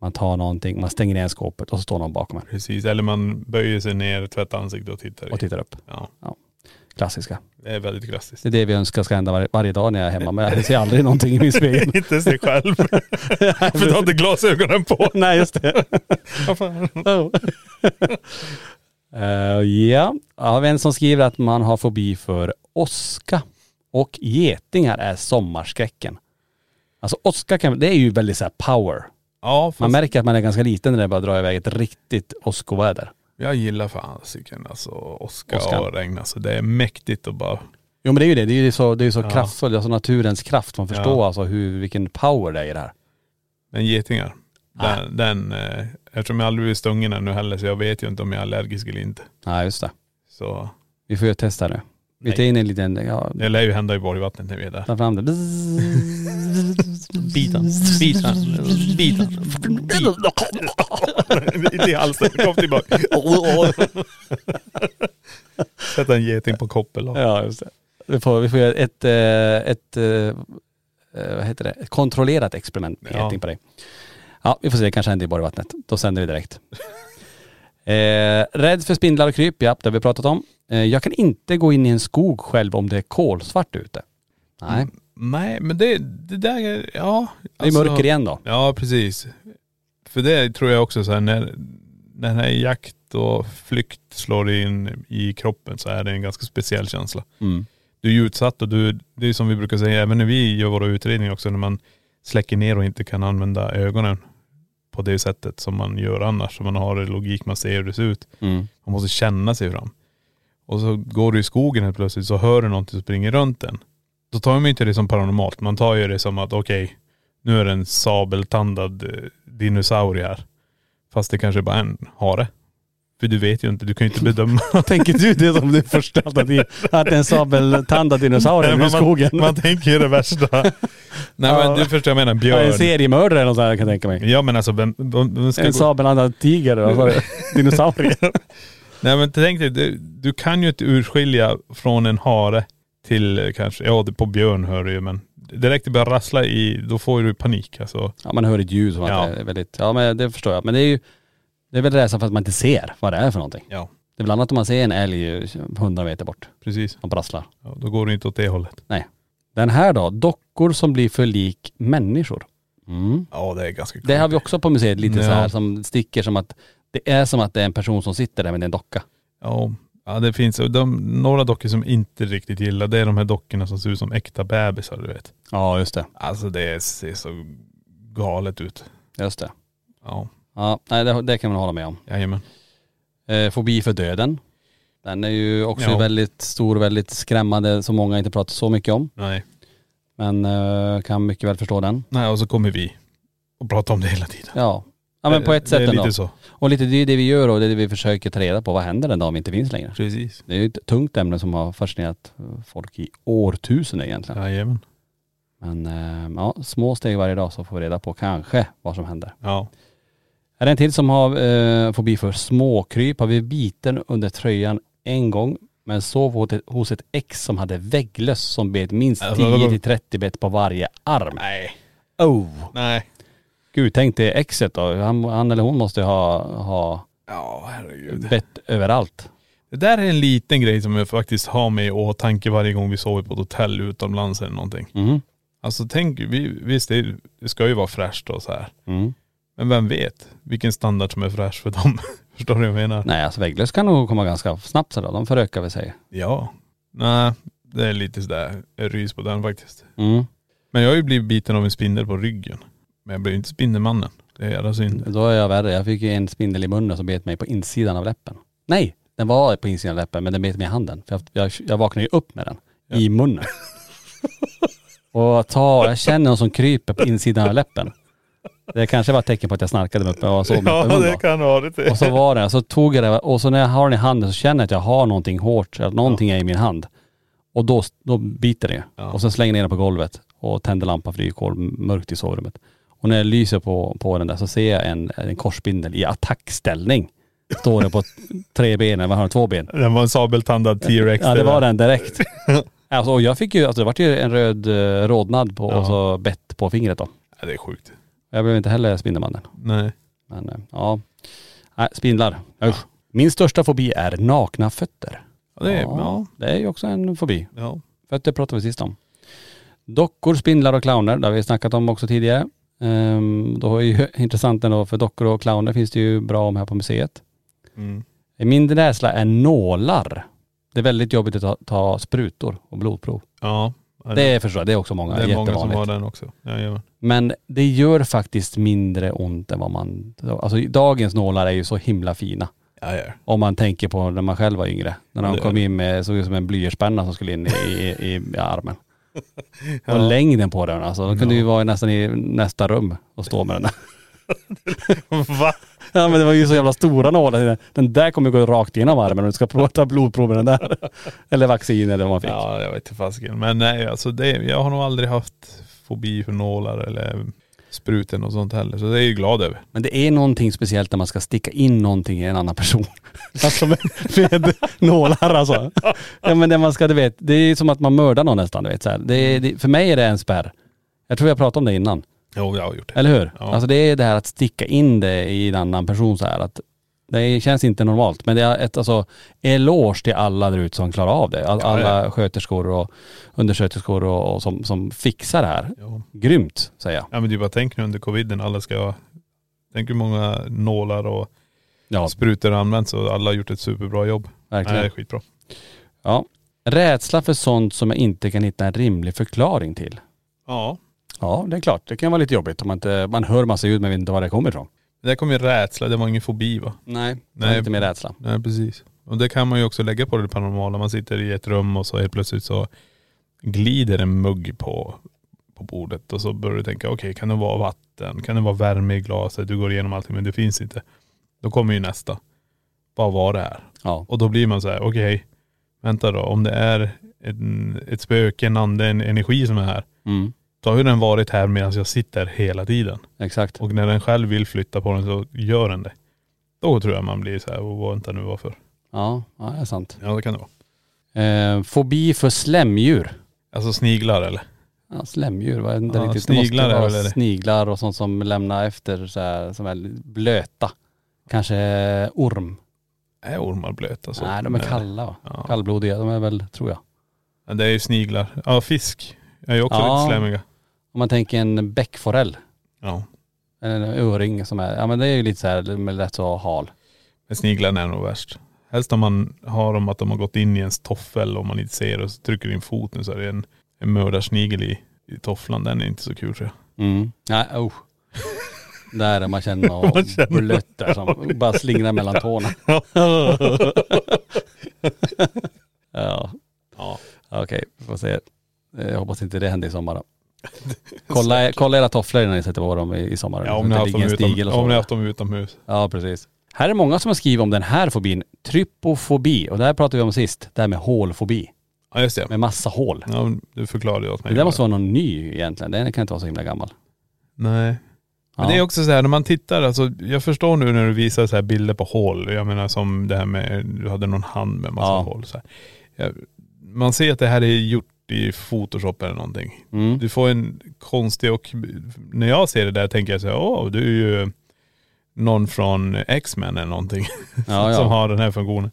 [SPEAKER 3] man tar någonting, man stänger igen skåpet och så står någon bakom en
[SPEAKER 4] Precis, eller man böjer sig ner, tvättar ansiktet och tittar. i.
[SPEAKER 3] och tittar upp.
[SPEAKER 4] Ja,
[SPEAKER 3] Klassiska.
[SPEAKER 4] det är väldigt klassiskt.
[SPEAKER 3] Det är det vi önskar ska hända varje, varje dag när jag är hemma, men jag ser aldrig någonting i min spegel.
[SPEAKER 4] inte sig
[SPEAKER 3] [laughs]
[SPEAKER 4] själv. [laughs] För du har inte glasögonen på.
[SPEAKER 3] Nej just [laughs] det. Oh. [laughs] Eh, ja, jag har en som skriver att man har fobi för åska och getingar är sommarskräcken. Alltså åska kan, det är ju väldigt så här power.
[SPEAKER 4] Ja,
[SPEAKER 3] Man
[SPEAKER 4] fast
[SPEAKER 3] märker att man är ganska liten när det bara drar iväg ett riktigt åskoväder.
[SPEAKER 4] jag gillar fasiken alltså åska
[SPEAKER 3] Åskan.
[SPEAKER 4] och regn. Alltså det är mäktigt att bara,
[SPEAKER 3] Jo men det är ju det, det är ju så, det är ju så
[SPEAKER 4] Ja.
[SPEAKER 3] kraftfullt, alltså naturens kraft. Man förstår
[SPEAKER 4] Ja.
[SPEAKER 3] alltså hur, vilken power det är i det här.
[SPEAKER 4] men getingar.
[SPEAKER 3] Ah.
[SPEAKER 4] Den, den, eh, eftersom jag aldrig blivit stungen ännu heller så jag vet ju inte om jag är allergisk eller inte.
[SPEAKER 3] Nej just det.
[SPEAKER 4] Så
[SPEAKER 3] Vi får ju testa nu. Vi
[SPEAKER 4] Nej.
[SPEAKER 3] tar in en liten, ja,
[SPEAKER 4] det lär ju hända i Borgvattnet när vi är där.
[SPEAKER 3] ta [laughs] fram den.
[SPEAKER 4] Bitan, bitan, bitan. Inte i halsen, kom tillbaka. Sätta en geting på koppel. och-
[SPEAKER 3] Ja, just det. Vi får, vi får göra ett, eh, ett, eh, eh, vad heter det, ett kontrollerat experiment med
[SPEAKER 4] Ja.
[SPEAKER 3] geting på dig. Ja, vi får se, det kanske händer i Borgvattnet. Då sänder vi direkt. eh, rädd för spindlar och kryp, ja, det har vi pratat om. Eh, jag kan inte gå in i en skog själv om det är kolsvart ute. Nej,
[SPEAKER 4] Nej men det, det där, är- ja. alltså-
[SPEAKER 3] det är mörker igen då.
[SPEAKER 4] Ja precis. För det tror jag också så här när, när den här jakt och flykt slår in i kroppen så är det en ganska speciell känsla.
[SPEAKER 3] Mm.
[SPEAKER 4] Du är ju utsatt och du, det är som vi brukar säga även när vi gör våra utredningar också när man släcker ner och inte kan använda ögonen på det sättet som man gör annars. Så man har en logik, man ser hur det ser ut.
[SPEAKER 3] Mm.
[SPEAKER 4] Man måste känna sig fram. Och så går du i skogen helt plötsligt så hör du någonting som springer runt den. Då tar man ju inte det som paranormalt. Man tar ju det som att okej, nu är det en sabeltandad eh, dinosaurie här. Fast det kanske bara är en hare. För du vet ju inte, du kan ju
[SPEAKER 3] [laughs]
[SPEAKER 4] inte bedöma.
[SPEAKER 3] Tänker du det som det första alternativet? Att det är en sabeltandad dinosaurie
[SPEAKER 4] Nej,
[SPEAKER 3] ute i
[SPEAKER 4] men
[SPEAKER 3] skogen?
[SPEAKER 4] [laughs] Man, man tänker ju
[SPEAKER 3] [laughs]
[SPEAKER 4] det värsta. Nej
[SPEAKER 3] Ja.
[SPEAKER 4] men du förstår vad jag menar,
[SPEAKER 3] ja, en
[SPEAKER 4] björn.
[SPEAKER 3] seriemördare eller något sånt här, kan jag tänka mig.
[SPEAKER 4] Ja men alltså vem, vem, vem ska
[SPEAKER 3] En
[SPEAKER 4] gå?
[SPEAKER 3] sabeltandad tiger, alltså, [laughs] dinosaurie.
[SPEAKER 4] Nej men tänk dig, du, du kan ju inte urskilja från en hare till eh, kanske, ja det- på björn hör du ju men direkt det börjar rassla i, då får du panik alltså.
[SPEAKER 3] Ja man hör ett ljud som
[SPEAKER 4] Ja.
[SPEAKER 3] att det är väldigt, ja men det förstår jag. Men det är ju, det är väl rädslan för att man inte ser vad det är för någonting.
[SPEAKER 4] Ja.
[SPEAKER 3] Det är bland annat om man ser en älg hundra meter bort
[SPEAKER 4] Precis.
[SPEAKER 3] som prasslar.
[SPEAKER 4] Ja, då går det inte åt det hållet.
[SPEAKER 3] Den här då, dockor som blir för lik människor. Mm.
[SPEAKER 4] Ja det är ganska
[SPEAKER 3] Det har vi också på museet lite
[SPEAKER 4] Ja.
[SPEAKER 3] så här som sticker som att det är som att det är en person som sitter där men det är en docka.
[SPEAKER 4] Ja, ja det finns, och de, några dockor som inte riktigt gillar det är de här dockorna som ser ut som äkta bebisar du vet.
[SPEAKER 3] Ja just det.
[SPEAKER 4] Alltså det ser så galet ut.
[SPEAKER 3] Just det.
[SPEAKER 4] Ja,
[SPEAKER 3] Ja, nej det, det kan man hålla med om.
[SPEAKER 4] jajamän.
[SPEAKER 3] Eh, fobi för döden. Den är ju också
[SPEAKER 4] Ja.
[SPEAKER 3] väldigt stor, väldigt skrämmande som många inte pratar så mycket om.
[SPEAKER 4] Nej.
[SPEAKER 3] Men eh, kan mycket väl förstå den.
[SPEAKER 4] Nej och så kommer vi och pratar om det hela tiden.
[SPEAKER 3] Ja. Ja men på ett
[SPEAKER 4] Det-
[SPEAKER 3] sätt
[SPEAKER 4] Det är
[SPEAKER 3] ändå.
[SPEAKER 4] lite så.
[SPEAKER 3] Och lite det är det vi gör och det är det vi försöker ta reda på. Vad händer den dag vi inte finns längre?
[SPEAKER 4] Precis.
[SPEAKER 3] Det är ju ett tungt ämne som har fascinerat eh, folk i årtusenden egentligen.
[SPEAKER 4] Jajamän.
[SPEAKER 3] Men eh, ja, små steg varje dag så får vi reda på kanske vad som händer.
[SPEAKER 4] Ja.
[SPEAKER 3] Är det en till som har eh, fobi för småkryp? Har vi biten under tröjan en gång men sov hos ett- hos ett ex som hade vägglöss som bet minst
[SPEAKER 4] Alltså, vadå?
[SPEAKER 3] 10-30 bet på varje arm.
[SPEAKER 4] Nej.
[SPEAKER 3] Oh!
[SPEAKER 4] Nej.
[SPEAKER 3] Gud, tänk dig exet då. Han, han eller hon måste ju ha, ha
[SPEAKER 4] Ja, herregud.
[SPEAKER 3] bett överallt.
[SPEAKER 4] Det där är en liten grej som jag faktiskt har med i åtanke varje gång vi sover på ett hotell utomlands eller någonting.
[SPEAKER 3] Mm.
[SPEAKER 4] Alltså tänk, vi, visst det, är- det ska ju vara fräscht och så här.
[SPEAKER 3] Mm.
[SPEAKER 4] Men vem vet vilken standard som är fräsch för dem? [laughs] Förstår du vad jag menar?
[SPEAKER 3] Nej, alltså vägglöss kan nog komma ganska snabbt sådär. De förökar väl sig.
[SPEAKER 4] Ja. Nej, det är lite sådär jag rys på den faktiskt.
[SPEAKER 3] Mm.
[SPEAKER 4] Men jag har ju blivit biten av en spindel på ryggen. Men jag blev ju inte Spindelmannen. Det är jävla synd.
[SPEAKER 3] Då är jag värre. Jag fick ju en spindel i munnen som bet mig på insidan av läppen. Nej, den var på insidan av läppen men den bet mig i handen. För jag, jag, jag vaknade ju upp med den i
[SPEAKER 4] [laughs]
[SPEAKER 3] munnen. och jag tar, jag känner någon som kryper på insidan av läppen. Det kanske var ett tecken på att jag snarkade mig uppe och sov
[SPEAKER 4] [laughs]
[SPEAKER 3] med öppen mun då.
[SPEAKER 4] kan vara det.
[SPEAKER 3] Och så var det, så tog jag det och så när jag har den i handen så känner jag att jag har någonting hårt, att någonting är i min hand. Och då, då biter det
[SPEAKER 4] Ja.
[SPEAKER 3] Och sen slänger jag ner den på golvet och tänder lampan för det är ju kol, mörkt i sovrummet. Och när jag lyser på, på den där så ser jag en, en korsbindel i attackställning Står den på tre ben, eller vad har den, två ben?
[SPEAKER 4] [laughs] Den var en sabeltandad T-rex.
[SPEAKER 3] Ja det
[SPEAKER 4] där.
[SPEAKER 3] var den direkt. Alltså och jag fick ju, alltså det vart ju en röd eh, rodnad på, och så bett på fingret då.
[SPEAKER 4] Ja, det är sjukt.
[SPEAKER 3] Jag blev inte heller Spindelmannen.
[SPEAKER 4] Nej.
[SPEAKER 3] Men eh, ja. Nej, spindlar. Usch. Min största fobi är nakna fötter.
[SPEAKER 4] Ja, det är, ja.
[SPEAKER 3] Det är ju också en fobi.
[SPEAKER 4] ja.
[SPEAKER 3] Fötter pratade vi sist om. Dockor, spindlar och clowner, det har vi snackat om också tidigare. Ehm, då är ju [laughs] intressant ändå, för dockor och clowner finns det ju bra om här på museet.
[SPEAKER 4] Mm.
[SPEAKER 3] Min rädsla är nålar. Det är väldigt jobbigt att ta, ta sprutor och blodprov.
[SPEAKER 4] Ja. ja.
[SPEAKER 3] Det är, förstår jag, det är också många.
[SPEAKER 4] det är många som
[SPEAKER 3] jättevanligt.
[SPEAKER 4] har den också. Jajamän.
[SPEAKER 3] Men det gör faktiskt mindre ont än vad man.. Alltså dagens nålar är ju så himla fina.
[SPEAKER 4] Ja, ja.
[SPEAKER 3] Om man tänker på när man själv var yngre. När de
[SPEAKER 4] Det är
[SPEAKER 3] kom
[SPEAKER 4] det.
[SPEAKER 3] in med, såg ut som en blyertspenna som skulle in i, i, i, i
[SPEAKER 4] [laughs]
[SPEAKER 3] armen.
[SPEAKER 4] Ja.
[SPEAKER 3] Och längden på den alltså. De kunde ju vara nästan i nästa rum och stå med den där.
[SPEAKER 4] [laughs] Va?
[SPEAKER 3] Ja men det var ju så jävla stora nålar. Den där kommer gå rakt igenom armen och du ska prova- ta blodprov med den där. Eller vaccin eller vad man fick.
[SPEAKER 4] Ja, jag vet inte fasiken. Men nej, alltså det, jag har nog aldrig haft fobi för nålar eller spruten och sånt heller. Så det är jag ju glad över.
[SPEAKER 3] Men det är någonting speciellt när man ska sticka in någonting i en annan person. [laughs] Alltså med, med nålar alltså. Ja men det man ska, du vet, det är som att man mördar någon nästan du vet så här. Det, är- det, För mig är det en spärr. Jag tror jag pratade om det innan.
[SPEAKER 4] Jo, jag har gjort det.
[SPEAKER 3] Eller hur?
[SPEAKER 4] Ja.
[SPEAKER 3] Alltså det är det här att sticka in det i en annan person så här. Att det känns inte normalt. Men det är ett alltså, eloge till alla där ute som klarar av det. All,
[SPEAKER 4] Ja, ja.
[SPEAKER 3] alla sköterskor och undersköterskor och, och som, som fixar det här.
[SPEAKER 4] Jo.
[SPEAKER 3] Grymt säger jag.
[SPEAKER 4] Ja men du bara tänk nu under coviden, alla ska.. Tänk hur många nålar och
[SPEAKER 3] Ja,
[SPEAKER 4] sprutor har använts och alla har gjort ett superbra jobb. Nej,
[SPEAKER 3] verkligen.
[SPEAKER 4] det är skitbra.
[SPEAKER 3] Ja. Rädsla för sånt som jag inte kan hitta en rimlig förklaring till.
[SPEAKER 4] Ja.
[SPEAKER 3] Ja, det är klart. Det kan vara lite jobbigt om man inte, man hör massa ljud men vet inte var det kommer ifrån.
[SPEAKER 4] Det kom ju rädsla, det var ingen fobi va?
[SPEAKER 3] Nej.
[SPEAKER 4] Nej.
[SPEAKER 3] Lite mer rädsla.
[SPEAKER 4] Nej precis. Och det kan man ju också lägga på det paranormala. Man sitter i ett rum och så helt plötsligt så glider en mugg på, på bordet och så börjar du tänka, okej kan det vara vatten? Kan det vara värme i glaset? Du går igenom allting men det finns inte. Då kommer ju nästa. Vad var det här?
[SPEAKER 3] Ja.
[SPEAKER 4] Och då blir man så här, okej, vänta då. Om det är en, ett spöke, en ande, en energi som är här.
[SPEAKER 3] Mm.
[SPEAKER 4] Då har ju den varit här medan jag sitter hela tiden.
[SPEAKER 3] Exakt.
[SPEAKER 4] Och när den själv vill flytta på den så gör den det. Då tror jag man blir så här, "Åh, vänta nu varför?
[SPEAKER 3] Ja, ja det är sant.
[SPEAKER 4] Ja det kan det vara.
[SPEAKER 3] Eh, fobi för slämdjur.
[SPEAKER 4] Alltså sniglar eller?
[SPEAKER 3] Ja, slämdjur, vad är det
[SPEAKER 4] Ja,
[SPEAKER 3] riktigt?
[SPEAKER 4] sniglar
[SPEAKER 3] det
[SPEAKER 4] är
[SPEAKER 3] måste
[SPEAKER 4] väl
[SPEAKER 3] vara
[SPEAKER 4] det.
[SPEAKER 3] sniglar och sånt som lämnar efter så här, som är blöta. Kanske orm.
[SPEAKER 4] Är ormar alltså? blöta så?
[SPEAKER 3] Nej, de är kalla va?
[SPEAKER 4] Ja.
[SPEAKER 3] Kallblodiga, de är väl, tror jag.
[SPEAKER 4] Ja, Det är ju sniglar. Ja fisk är ju också
[SPEAKER 3] Ja.
[SPEAKER 4] lite slemmiga.
[SPEAKER 3] Om man tänker en bäckforell,
[SPEAKER 4] Ja.
[SPEAKER 3] eller en öring som är, ja men det är ju lite så här, men lätt så hal.
[SPEAKER 4] Men sniglarna är nog värst. Helst om man har dem att de har gått in i ens toffel och man inte ser och så trycker in foten så är det en, en mördarsnigel i, i tofflan. Den är inte så kul tror jag.
[SPEAKER 3] Mm. Nej, usch. Där man
[SPEAKER 4] [laughs]
[SPEAKER 3] känner
[SPEAKER 4] Man
[SPEAKER 3] något
[SPEAKER 4] känner-
[SPEAKER 3] blött där som bara slingrar mellan tårna. [laughs] ja.
[SPEAKER 4] Ja.
[SPEAKER 3] Okej, vi får se. Eh, Jag hoppas inte det händer i sommar
[SPEAKER 4] [laughs]
[SPEAKER 3] då. Kolla, kolla era tofflor innan ni sätter på dem i, i sommar.
[SPEAKER 4] Ja,
[SPEAKER 3] Så
[SPEAKER 4] om ni
[SPEAKER 3] det
[SPEAKER 4] har haft
[SPEAKER 3] ligger
[SPEAKER 4] dem
[SPEAKER 3] en
[SPEAKER 4] utom,
[SPEAKER 3] stigel och
[SPEAKER 4] ja, om ni
[SPEAKER 3] så.
[SPEAKER 4] har haft dem utomhus.
[SPEAKER 3] Ja, precis. Här är många som har skrivit om den här fobin, trypofobi. Och det här pratade vi om sist, det här med hålfobi.
[SPEAKER 4] Ja just det.
[SPEAKER 3] Med massa hål.
[SPEAKER 4] Ja, men du förklarade ju åt mig.
[SPEAKER 3] Det där måste vara någon ny egentligen, den kan inte vara så himla gammal.
[SPEAKER 4] Nej. Men
[SPEAKER 3] Ja.
[SPEAKER 4] det är också så här när man tittar, alltså jag förstår nu när du visar så här bilder på hål. Jag menar som det här med, du hade någon hand med massa
[SPEAKER 3] Ja.
[SPEAKER 4] hål. Så här. Ja, man ser att det här är gjort i Photoshop eller någonting.
[SPEAKER 3] Mm.
[SPEAKER 4] Du får en konstig och, när jag ser det där tänker jag så här, åh du är ju någon från X-Men eller någonting. [laughs]
[SPEAKER 3] Ja, ja.
[SPEAKER 4] Som har den här funktionen.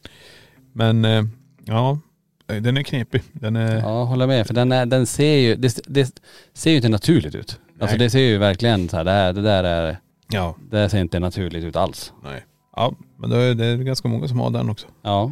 [SPEAKER 4] Men eh, ja, den är knepig. Den är,
[SPEAKER 3] Ja, håller med. För den, är, den ser ju, det, det ser ju inte naturligt ut. Alltså
[SPEAKER 4] Nej.
[SPEAKER 3] det ser ju verkligen så här, det, här, det där är,
[SPEAKER 4] ja,
[SPEAKER 3] det där ser inte naturligt ut alls.
[SPEAKER 4] nej. Ja, men det är, det är ganska många som har den också.
[SPEAKER 3] Ja.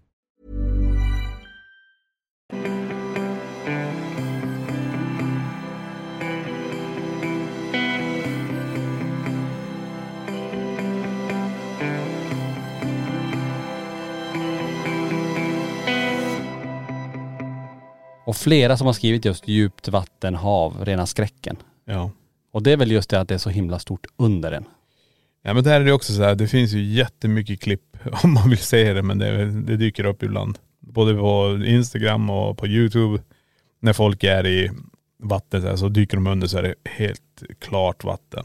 [SPEAKER 3] Och flera som har skrivit just djupt vatten, hav, rena skräcken.
[SPEAKER 4] Ja.
[SPEAKER 3] Och det är väl just det att det är så himla stort under den.
[SPEAKER 4] Ja men där är det också så här, det finns ju jättemycket klipp [laughs] om man vill se det men det, är väl- det dyker upp ibland. Både på Instagram och på YouTube. När folk är i vattnet så, här, så dyker de under så är det helt klart vatten.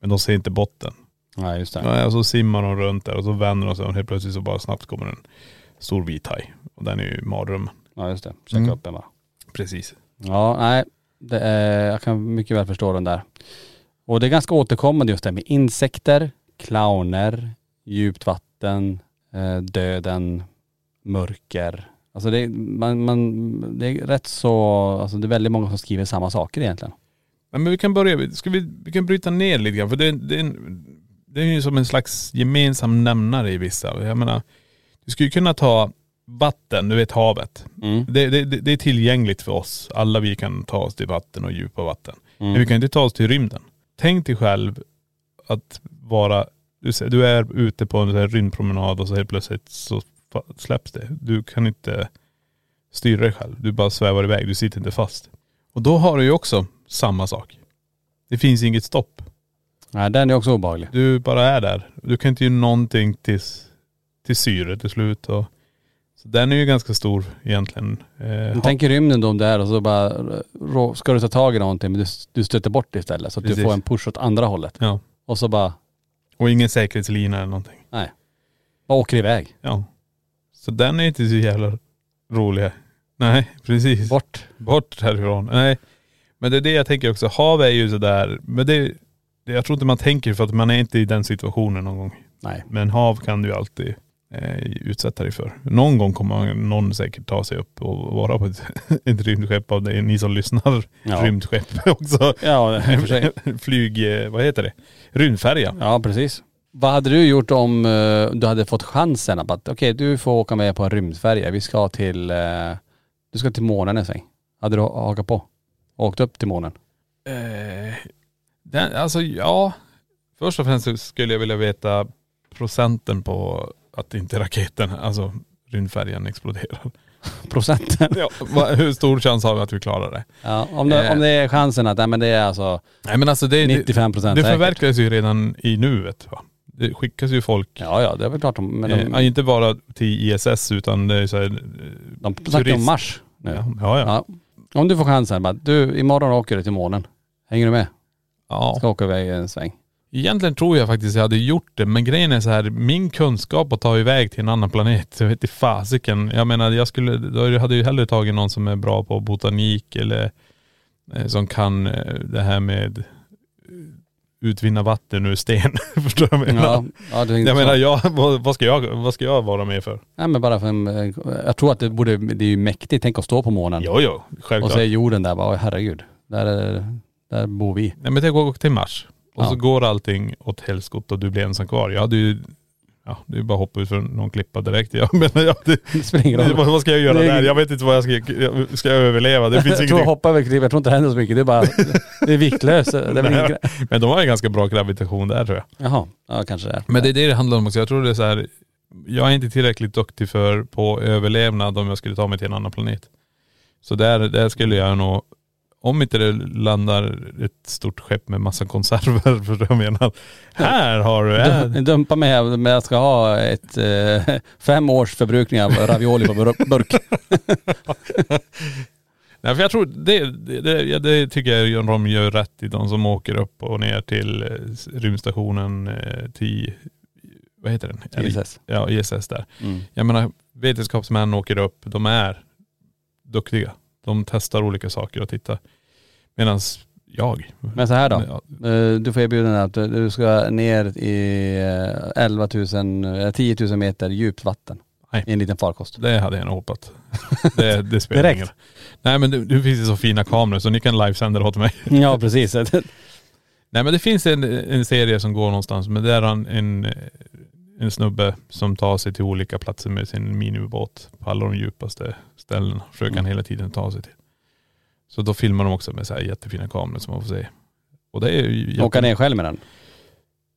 [SPEAKER 4] Men de ser inte botten.
[SPEAKER 3] Nej just det.
[SPEAKER 4] Ja, och så simmar de runt där och så vänder de sig och helt plötsligt så bara snabbt kommer en stor vit haj. Och den är ju mardrömmen.
[SPEAKER 3] Ja just det. Käka
[SPEAKER 4] Mm.
[SPEAKER 3] upp den bara.
[SPEAKER 4] Precis.
[SPEAKER 3] Ja nej, det är, jag kan mycket väl förstå den där. Och det är ganska återkommande just det här med insekter, clowner, djupt vatten, eh, döden, mörker. Alltså det, är- man, man, det är rätt så, alltså det är väldigt många som skriver samma saker egentligen.
[SPEAKER 4] Nej, men vi kan börja, ska vi, vi kan bryta ner lite grann. För det, det, är en, det är ju som en slags gemensam nämnare i vissa. Jag menar, du skulle ju kunna ta vatten, du vet havet.
[SPEAKER 3] Mm.
[SPEAKER 4] Det, det, det, det är tillgängligt för oss. Alla vi kan ta oss till vatten och djupa vatten. Men vi
[SPEAKER 3] Mm.
[SPEAKER 4] kan inte ta oss till rymden. Tänk dig själv att vara, du, ser- du är ute på en sån här rymdpromenad och så helt plötsligt så fa- släpps det. Du kan inte styra dig själv. Du bara svävar iväg. Du sitter inte fast. Och då har du ju också samma sak. Det finns inget stopp.
[SPEAKER 3] Nej den är också obehaglig.
[SPEAKER 4] Du bara är där. Du kan inte göra någonting tills, till syre till slut. Och, så den är ju ganska stor egentligen. Eh,
[SPEAKER 3] Men Tänk i rymden då om det är och så bara rå- ska du ta tag i någonting men du, du stöter bort det istället så att du
[SPEAKER 4] Precis.
[SPEAKER 3] får en push åt andra hållet.
[SPEAKER 4] Ja.
[SPEAKER 3] Och så bara,
[SPEAKER 4] Och ingen säkerhetslina eller någonting.
[SPEAKER 3] bara åker iväg.
[SPEAKER 4] Ja. Så den är inte så jävla rolig. Nej, precis.
[SPEAKER 3] Bort.
[SPEAKER 4] Bort härifrån. Nej. Men det är det jag tänker också. Hav är ju sådär, men det, det, jag tror inte man tänker för att man är inte i den situationen någon gång.
[SPEAKER 3] Nej.
[SPEAKER 4] Men hav kan du ju alltid eh, utsätta dig för. Någon gång kommer man- någon säkert ta sig upp och vara på ett, [laughs] ett rymdskepp av dig. Ni som lyssnar,
[SPEAKER 3] Ja.
[SPEAKER 4] rymdskepp [laughs] också.
[SPEAKER 3] Ja i och för [laughs] sig.
[SPEAKER 4] Flyg, eh, vad heter det? Rymdfärja.
[SPEAKER 3] Ja precis. Vad hade du gjort om eh, du hade fått chansen att bara, okej du får åka med på en rymdfärja. Vi ska till, eh, du ska till månen en sväng. Hade du ha- hakat på? Och åkt upp till månen? [laughs]
[SPEAKER 4] Eh, den, alltså ja, först och främst så skulle jag vilja veta procenten på att inte raketen, alltså rymdfärjan exploderar.
[SPEAKER 3] Procenten?
[SPEAKER 4] [laughs] Ja, vad- hur stor chans har vi att vi klarar det?
[SPEAKER 3] Ja, om, det,
[SPEAKER 4] Eh.
[SPEAKER 3] om det är chansen att, nej men det är alltså
[SPEAKER 4] Nej men alltså det, det,
[SPEAKER 3] 95 procent
[SPEAKER 4] det förverkligas ju redan i nuet va? Det skickas ju folk,
[SPEAKER 3] Ja ja, det är väl klart. de- Men
[SPEAKER 4] eh,
[SPEAKER 3] de,
[SPEAKER 4] inte bara till ISS utan det är så här,
[SPEAKER 3] de snackar om
[SPEAKER 4] turist-
[SPEAKER 3] Mars nu.
[SPEAKER 4] ja, ja, ja.
[SPEAKER 3] Ja. Om du får chansen, bara, du imorgon åker du till månen. Hänger du med?
[SPEAKER 4] ja.
[SPEAKER 3] Ska åka iväg en sväng.
[SPEAKER 4] Egentligen tror jag faktiskt jag hade gjort det, men grejen är så här, min kunskap att ta iväg till en annan planet, [laughs] jag vet inte fasiken. Jag menar, jag skulle, då hade jag ju hellre tagit någon som är bra på botanik eller eh, som kan eh, det här med eh, utvinna vatten ur sten. [laughs] Förstår du vad jag menar?
[SPEAKER 3] Ja, ja, det är
[SPEAKER 4] jag
[SPEAKER 3] intressant.
[SPEAKER 4] menar, jag, [laughs] vad, vad, ska jag, vad ska jag vara med för?
[SPEAKER 3] Nej men bara för en, jag tror att det borde, det är ju mäktigt, tänk att stå på månen.
[SPEAKER 4] Jo, jo,
[SPEAKER 3] och
[SPEAKER 4] självklart.
[SPEAKER 3] så är jorden där bara, "Oj, herregud, där, är, där bor vi.
[SPEAKER 4] Nej men tänk att åka till Mars. Och
[SPEAKER 3] Ja.
[SPEAKER 4] så går allting åt helskotta och du blir ensam kvar. Jag hade ju, ja det är ju bara att hoppa ut från någon klippa direkt. [laughs] Jag menar, jag hade,
[SPEAKER 3] Det spelar ingen [laughs] roll.
[SPEAKER 4] Vad, vad ska jag göra
[SPEAKER 3] Det är-
[SPEAKER 4] där? Jag vet inte vad jag ska, jag- ska jag överleva. Det
[SPEAKER 3] [laughs]
[SPEAKER 4] finns
[SPEAKER 3] jag tror jag
[SPEAKER 4] ingenting.
[SPEAKER 3] hoppar över klippet, jag tror inte det händer så mycket. Det är [laughs] bara, det är viktlöst. Det är väl ingen grej.
[SPEAKER 4] Men de har ju ganska bra gravitation där tror jag.
[SPEAKER 3] Jaha, ja kanske det är.
[SPEAKER 4] Men det är det det handlar om också. Jag tror det är så här, jag är inte tillräckligt duktig för på överlevnad om jag skulle ta mig till en annan planet. Så där, där skulle jag nog, om inte det landar ett stort skepp med massa konserver, [laughs] förstår du vad jag menar? Här har du,
[SPEAKER 3] Dum-
[SPEAKER 4] här,
[SPEAKER 3] Dumpa mig här, men jag ska ha ett, eh, fem års förbrukning av ravioli på bur- [laughs] burk.
[SPEAKER 4] Nej för jag tror, det, det, det, ja, det tycker jag de gör rätt i, de som åker upp och ner till eh, s- rymdstationen eh, till, vad heter den? Är det-
[SPEAKER 3] ISS.
[SPEAKER 4] Ja, ISS där.
[SPEAKER 3] Mm.
[SPEAKER 4] Jag menar, vetenskapsmän åker upp, de är duktiga. De testar olika saker och tittar. Medan jag.
[SPEAKER 3] Men så här då.
[SPEAKER 4] Ja.
[SPEAKER 3] Eh, Du får erbjudande att du ska ner i eh, 11 000, eh, 10 000 meter djupt vatten.
[SPEAKER 4] Nej.
[SPEAKER 3] I en liten farkost.
[SPEAKER 4] Det hade jag nog hoppat. Det, det spelar
[SPEAKER 3] Direkt.
[SPEAKER 4] ingen roll. Nej men det, det finns ju så fina kameror så ni kan livesända det åt mig.
[SPEAKER 3] [laughs] [laughs] Ja precis.
[SPEAKER 4] Nej men det finns en, en serie som går någonstans men där är han en, en snubbe som tar sig till olika platser med sin minibåt på alla de djupaste ställena. Försöker
[SPEAKER 3] Mm.
[SPEAKER 4] han hela tiden ta sig till. Så då filmar de också med så här jättefina kameror som man får se. Och det är ju jätte...
[SPEAKER 3] Åka ner själv med den.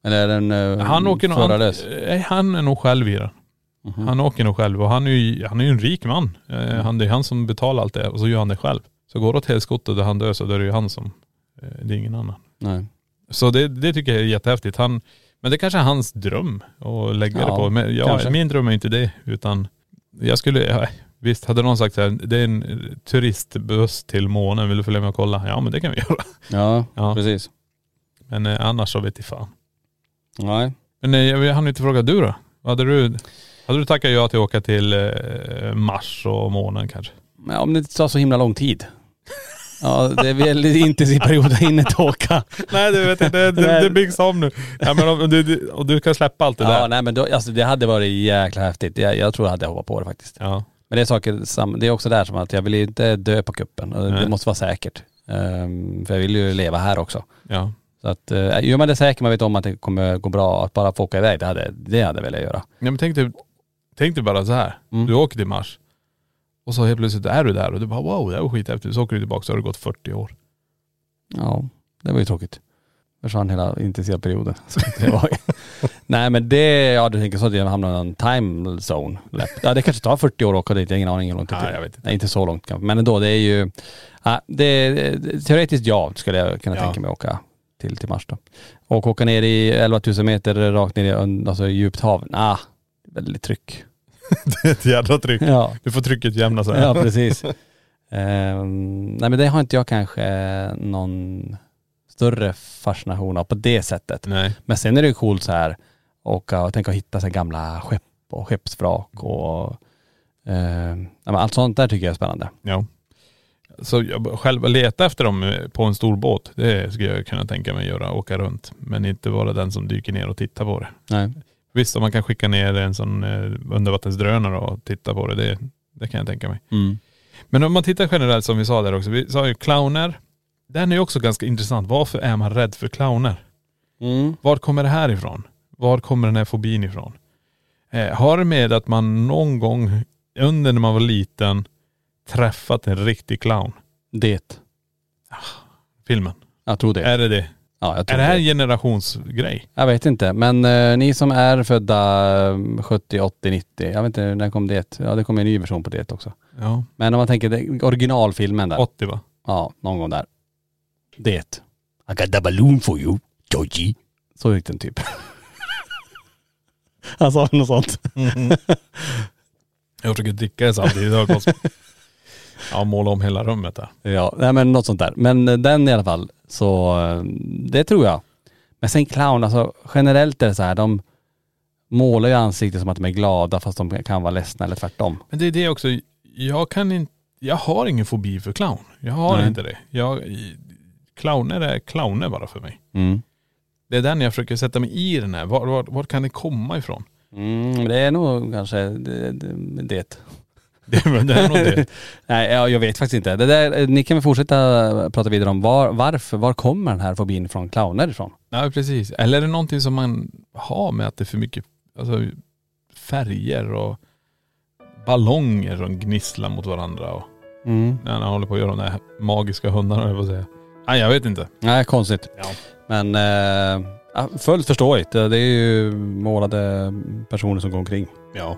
[SPEAKER 3] Eller är den eh,
[SPEAKER 4] Han åker nog, han,
[SPEAKER 3] förarlös?
[SPEAKER 4] nej, han är nog själv i den.
[SPEAKER 3] Mhm. Mm.
[SPEAKER 4] Han åker nog själv och han är ju, han är ju en rik man. Eh, Han, det är han som betalar allt det och så gör han det själv. Så går det åt helskotta där han dör så då är det ju han som, eh, det är ingen annan.
[SPEAKER 3] Nej.
[SPEAKER 4] Så det, det tycker jag är jättehäftigt. Han, men det kanske är hans dröm att lägga
[SPEAKER 3] Ja,
[SPEAKER 4] det på. Men
[SPEAKER 3] kanske.
[SPEAKER 4] jag, min dröm är inte det utan jag skulle, ja, visst hade någon sagt så här, det är en eh, turistbuss till månen, vill du följa med och kolla? Ja men det kan vi [laughs] göra.
[SPEAKER 3] Ja,
[SPEAKER 4] Ja.
[SPEAKER 3] precis.
[SPEAKER 4] Men eh, annars så vet jag fan.
[SPEAKER 3] Nej.
[SPEAKER 4] Men nej, jag hann inte fråga du då? Hade du, hade du tackat ja till att åka till eh, Mars och månen kanske?
[SPEAKER 3] Men om det inte tar så himla lång tid. Ja det är väldigt intensiv period att hinna inte åka.
[SPEAKER 4] [laughs] Nej du vet inte,
[SPEAKER 3] det- det
[SPEAKER 4] byggs om nu. Ja, men om, du, du, och du kan släppa allt det
[SPEAKER 3] Ja
[SPEAKER 4] där.
[SPEAKER 3] nej men då, alltså, det hade varit jäkla häftigt. Jag, jag tror jag hade hoppat på det faktiskt.
[SPEAKER 4] Ja.
[SPEAKER 3] Men det är saker, sam- det är också där som att jag vill ju inte dö på kuppen. Och Det
[SPEAKER 4] Nej.
[SPEAKER 3] måste vara säkert. Ehm, för jag vill ju leva här också.
[SPEAKER 4] ja.
[SPEAKER 3] Så att, eh, gör man det säkert, man vet om att det kommer gå bra, att bara få åka iväg, det hade, det hade jag velat göra.
[SPEAKER 4] Ja men tänk dig, tänk dig bara så här.
[SPEAKER 3] Mm.
[SPEAKER 4] Du åker till Mars. Och så helt plötsligt är du där och du bara wow det här var skithäftigt. Så åker du tillbaka så har det gått 40 år.
[SPEAKER 3] Ja, det var ju tråkigt. Försvann hela intensiva perioden. [laughs] Så det var ju- Nej men det, ja du tänker så att jag hamnar i en time zone. lätt. Ja det kanske tar 40 år att åka dit, jag har ingen aning hur långt det
[SPEAKER 4] Nej,
[SPEAKER 3] tar.
[SPEAKER 4] jag vet inte.
[SPEAKER 3] Nej inte så långt kanske. Men ändå det är ju, ja, det, det- teoretiskt ja skulle jag kunna
[SPEAKER 4] Ja.
[SPEAKER 3] tänka mig att åka till, till Mars då. Och åka ner i 11 000 meter rakt ner i un- alltså, djupt hav, ah, väldigt tryck.
[SPEAKER 4] Det är [laughs] ett jävla tryck.
[SPEAKER 3] Ja.
[SPEAKER 4] Du får trycket jämna så här. [laughs]
[SPEAKER 3] Ja precis. Ehm, nej men det har inte jag kanske någon större fascination av på det sättet.
[SPEAKER 4] Nej.
[SPEAKER 3] Men sen är det ju coolt så här åka och tänka och hitta så här gamla skepp och skeppsvrak och ehm, nej, men allt sånt där tycker jag är spännande.
[SPEAKER 4] Ja. Så jag, själv att leta efter dem eh, på en stor båt, det skulle jag kunna tänka mig göra, åka runt. Men inte vara den som dyker ner och tittar på det.
[SPEAKER 3] Nej.
[SPEAKER 4] Visst, om man kan skicka ner en sån eh, undervattensdrönare och titta på det, det, det kan jag tänka mig.
[SPEAKER 3] Mm.
[SPEAKER 4] Men om man tittar generellt som vi sa där också, vi sa ju clowner. Den är ju också ganska intressant. Varför är man rädd för clowner?
[SPEAKER 3] Mm.
[SPEAKER 4] Var kommer det här ifrån? Var kommer den här fobin ifrån? Eh, har det med att man någon gång under när man var liten träffat en riktig clown?
[SPEAKER 3] Det.
[SPEAKER 4] Filmen.
[SPEAKER 3] Jag tror det.
[SPEAKER 4] Är det det?
[SPEAKER 3] ja, jag, tror
[SPEAKER 4] Är det här en
[SPEAKER 3] det.
[SPEAKER 4] generationsgrej?
[SPEAKER 3] jag vet inte. Men eh, ni som är födda eh, 70, 80, 90. Jag vet inte, när kom det? Ja det kom en ny version på det också.
[SPEAKER 4] Ja.
[SPEAKER 3] Men om man tänker det- originalfilmen där.
[SPEAKER 4] 80 va?
[SPEAKER 3] Ja, någon gång där. Det. I got the balloon for you, Georgie. Så gick den typ. [laughs] Han sa något sånt.
[SPEAKER 4] Jag försöker dricka samtidigt. Det har [laughs] gått- Ja, måla om hela rummet där.
[SPEAKER 3] Ja, nej men något sånt där. Men eh, den i alla fall, så eh, det tror jag. Men sen clown, alltså generellt är det så här, de målar ju ansiktet som att de är glada fast de kan vara ledsna eller tvärtom.
[SPEAKER 4] Men det är det också, jag kan inte, jag har ingen fobi för clown. Jag har
[SPEAKER 3] Nej.
[SPEAKER 4] inte det. Jag, i- clowner är clowner bara för mig.
[SPEAKER 3] Mm.
[SPEAKER 4] Det är den jag försöker sätta mig i den här. Var, var, var kan det komma ifrån?
[SPEAKER 3] Mm, det är nog kanske det. det, det.
[SPEAKER 4] [laughs] Det, är- det är nog [laughs] det.
[SPEAKER 3] [laughs] Nej, ja, jag vet faktiskt inte. Det där, eh, ni kan väl fortsätta prata vidare om var, varför, var kommer den här fobin från clowner ifrån?
[SPEAKER 4] Nej precis. Eller är det någonting som man har med att det är för mycket alltså, färger och ballonger som gnisslar mot varandra och när han håller på att göra de där magiska hundarna höll jag på att säga. Nej jag vet inte.
[SPEAKER 3] Nej, konstigt. Men eh, ja, fullt förståeligt. Det är ju målade personer som går omkring.
[SPEAKER 4] Ja.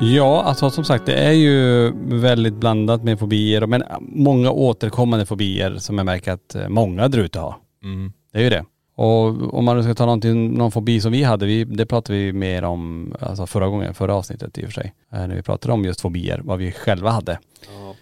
[SPEAKER 3] Ja, alltså som sagt det är ju väldigt blandat med fobier. Men äh, många återkommande fobier som jag märker att äh, många där ute har.
[SPEAKER 4] Mm.
[SPEAKER 3] Det är ju det. Och om man nu ska ta någonting, någon fobi som vi hade, vi, det pratade vi mer om alltså förra gången, förra avsnittet i och för sig. Eh, När vi pratade om just fobier, vad vi själva hade.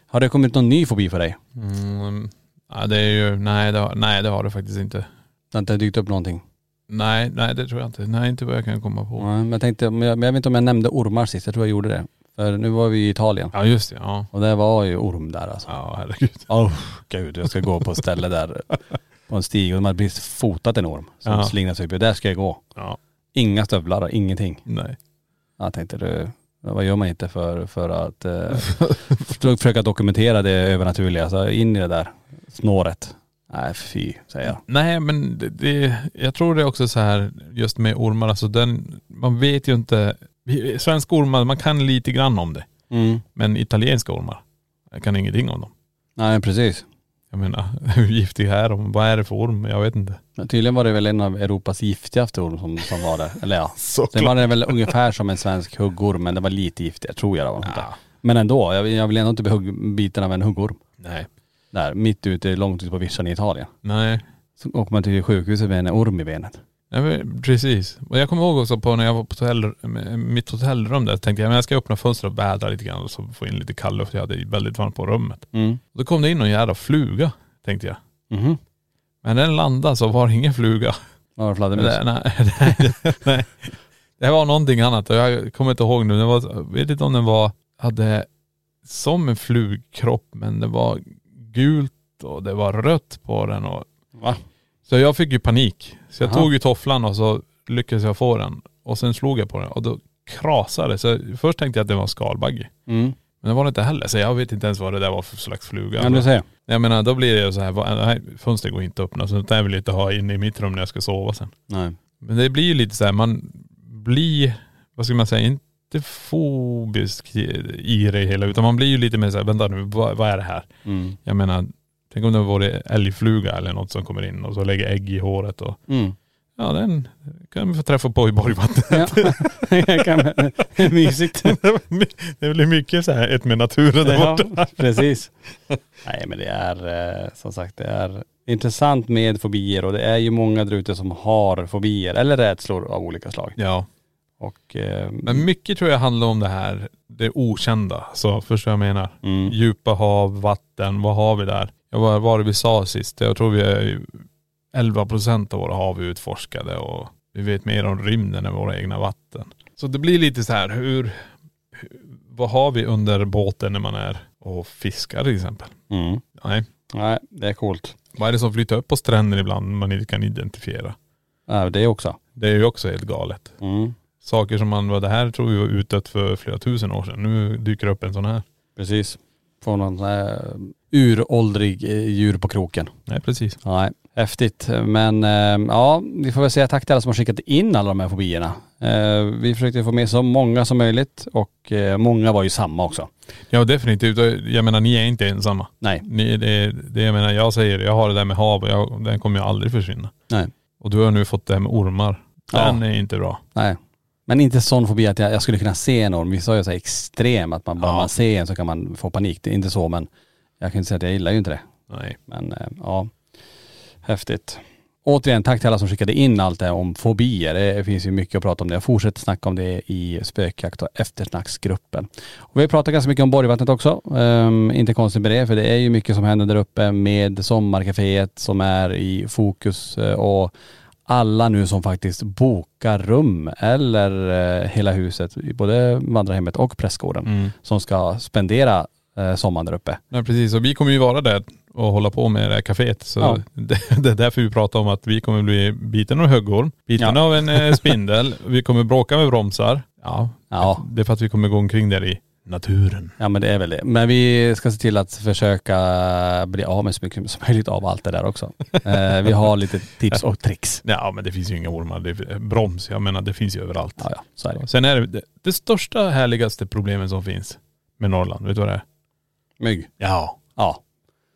[SPEAKER 3] Har det kommit någon ny fobi för dig?
[SPEAKER 4] Mm. Ja, det är ju, nej det, har, nej det har det faktiskt inte.
[SPEAKER 3] Det har inte dykt upp någonting?
[SPEAKER 4] Nej, nej det tror jag inte. Nej inte vad jag kan komma på.
[SPEAKER 3] Nej, men jag tänkte, men jag, men jag vet inte om jag nämnde ormar sist, jag tror jag gjorde det. För nu var vi i Italien
[SPEAKER 4] Ja just det, ja.
[SPEAKER 3] och det var ju orm där alltså.
[SPEAKER 4] Ja herregud.
[SPEAKER 3] Åh gud, jag ska gå på ett ställe där på en stig och de hade precis fotat en orm som
[SPEAKER 4] Ja.
[SPEAKER 3] slingrar sig upp. Där ska jag gå.
[SPEAKER 4] Ja.
[SPEAKER 3] Inga stövlar och ingenting.
[SPEAKER 4] Nej.
[SPEAKER 3] Jag tänkte du, vad gör man inte för, för att eh, för- försöka dokumentera det övernaturliga. Så in i det där snåret. Nej fy, säger jag.
[SPEAKER 4] Nej men det, det, jag tror det är också så här just med ormar, alltså den, man vet ju inte. vi- Svenska ormar, man kan lite grann om det. Men italienska ormar, jag kan ingenting om dem.
[SPEAKER 3] Nej precis.
[SPEAKER 4] Jag menar, [laughs] hur giftiga är de? Vad är det för orm? Jag vet inte.
[SPEAKER 3] Men tydligen var det väl en av Europas giftigaste orm som, som var där. Eller
[SPEAKER 4] [laughs]
[SPEAKER 3] ja. Sen
[SPEAKER 4] Såklart.
[SPEAKER 3] var den väl ungefär som en svensk huggorm men den var lite giftig, tror jag det var. något sånt där. Men ändå, jag, jag vill ändå inte bli hugg, biten av en huggorm.
[SPEAKER 4] Nej.
[SPEAKER 3] Där, mitt ute, långt ute på vischan i Italien.
[SPEAKER 4] Nej.
[SPEAKER 3] Så åker man till sjukhuset med en orm i benet.
[SPEAKER 4] Ja, men precis. Och jag kommer ihåg också på när jag var på hotell, mitt hotellrum där, tänkte jag men jag ska öppna fönstret och vädra lite grann och så få in lite kallluft. Jag hade väldigt varmt på rummet.
[SPEAKER 3] Mm.
[SPEAKER 4] Då kom det in någon jävla fluga, tänkte jag.
[SPEAKER 3] Mhm.
[SPEAKER 4] Men den landade så var det ingen fluga.
[SPEAKER 3] Var det fladdermus?
[SPEAKER 4] [laughs] Nej, nej, [laughs] nej, nej. Det var någonting annat och jag kommer inte ihåg nu. Den var, jag vet inte om den var, hade som en flugkropp men det var gult och det var rött på den och..
[SPEAKER 3] Va?
[SPEAKER 4] Så jag fick ju panik. Så jag
[SPEAKER 3] Aha.
[SPEAKER 4] tog ju tofflan och så lyckades jag få den. Och sen slog jag på den och då krasade det. Så först tänkte jag att det var en skalbagge.
[SPEAKER 3] Mm.
[SPEAKER 4] Men det var det inte heller. Så jag vet inte ens vad det där var för slags fluga.
[SPEAKER 3] Ja du ser.
[SPEAKER 4] jag menar då blir det ju så här, vad- nej, fönstret går inte att öppna. Så det där vill jag inte ha inne i mitt rum när jag ska sova sen.
[SPEAKER 3] Nej.
[SPEAKER 4] Men det blir ju lite så här, man blir, vad ska man säga, inte fobisk i det hela utan man blir ju lite mer så här, vänta nu, vad, vad är det här?
[SPEAKER 3] Mm.
[SPEAKER 4] Jag menar, tänk om det var älgfluga eller något som kommer in och så lägger ägg i håret och
[SPEAKER 3] Mm. [laughs]
[SPEAKER 4] ja den kan vi få träffa på i Borgvattnet. [laughs]
[SPEAKER 3] Ja. Jag kan- [laughs] Mysigt.
[SPEAKER 4] det blir mycket så här ett med naturen där
[SPEAKER 3] Ja,
[SPEAKER 4] borta.
[SPEAKER 3] precis. Nej men det är eh, som sagt det är intressant med fobier och det är ju många där ute som har fobier eller rädslor av olika slag.
[SPEAKER 4] Ja,
[SPEAKER 3] Och eh,
[SPEAKER 4] men mycket tror jag handlar om det här, det okända. Så förstår jag vad jag menar?
[SPEAKER 3] mm.
[SPEAKER 4] djupa hav, vatten, vad har vi där? Jag var, var det vi sa sist? Jag tror vi är ju 11 procent av våra hav är utforskade och vi vet mer om rymden än våra egna vatten. Så det blir lite så här, hur, hur- vad har vi under båten när man är och fiskar till exempel?
[SPEAKER 3] Mm.
[SPEAKER 4] Nej.
[SPEAKER 3] Nej det är coolt.
[SPEAKER 4] Vad är det som flyter upp på stränder ibland man inte kan identifiera?
[SPEAKER 3] Ja, det också.
[SPEAKER 4] Det är ju också helt galet.
[SPEAKER 3] Mm.
[SPEAKER 4] Saker som man, vad det här tror vi var utdött för flera tusen år sedan. Nu dyker det upp en sån här.
[SPEAKER 3] Precis. från någon sån här eh, uråldrig eh, djur på kroken.
[SPEAKER 4] Nej precis.
[SPEAKER 3] Nej, häftigt. Men eh, ja, vi får väl säga tack till alla som har skickat in alla de här fobierna. Eh, vi försökte få med så många som möjligt och eh, många var ju samma också.
[SPEAKER 4] Ja definitivt. Jag menar ni är inte ensamma.
[SPEAKER 3] Nej.
[SPEAKER 4] Ni, det, det, jag menar jag säger, jag har det där med hav och jag, den kommer ju aldrig försvinna.
[SPEAKER 3] Nej.
[SPEAKER 4] Och du har nu fått det här med ormar. Den
[SPEAKER 3] Ja.
[SPEAKER 4] är inte bra.
[SPEAKER 3] Nej. Men inte sån fobi att jag, jag skulle kunna se en orm. Vissa har ju så här extrem att man bara
[SPEAKER 4] Ja.
[SPEAKER 3] man ser en så kan man få panik. Det är inte så men jag kan inte säga att jag gillar ju inte det.
[SPEAKER 4] Nej.
[SPEAKER 3] Men eh, ja, häftigt. Återigen tack till alla som skickade in allt det här om fobier. Det finns ju mycket att prata om det. Jag fortsätter snacka om det i spökjakt och eftersnacksgruppen. Och vi har pratat ganska mycket om Borgvattnet också. Ehm, inte konstigt med det, för det är ju mycket som händer där uppe med sommarcaféet som är i fokus eh, och alla nu som faktiskt bokar rum eller eh, hela huset, i både vandrarhemmet och prästgården, som ska spendera eh, sommaren där uppe.
[SPEAKER 4] Nej precis. Och vi kommer ju vara där och hålla på med det här kaféet. Så
[SPEAKER 3] Ja.
[SPEAKER 4] det, [laughs] det är därför vi pratar om att vi kommer bli biten av en höggorm, biten
[SPEAKER 3] Ja.
[SPEAKER 4] av en
[SPEAKER 3] [laughs]
[SPEAKER 4] eh, spindel, vi kommer bråka med bromsar. Ja.
[SPEAKER 3] Ja,
[SPEAKER 4] Det är för att vi kommer gå omkring där i naturen.
[SPEAKER 3] Ja men det är väl det. Men vi ska se till att försöka bli av med så mycket som möjligt av allt det där [laughs] också. Eh, vi har lite tips och tricks.
[SPEAKER 4] Ja men det finns ju inga ormar. Det är broms, jag menar det finns ju överallt.
[SPEAKER 3] Ja ja, så är det.
[SPEAKER 4] Sen är det, det det största härligaste problemen som finns med Norrland, vet du vad det är?
[SPEAKER 3] Mygg.
[SPEAKER 4] Ja.
[SPEAKER 3] Ja.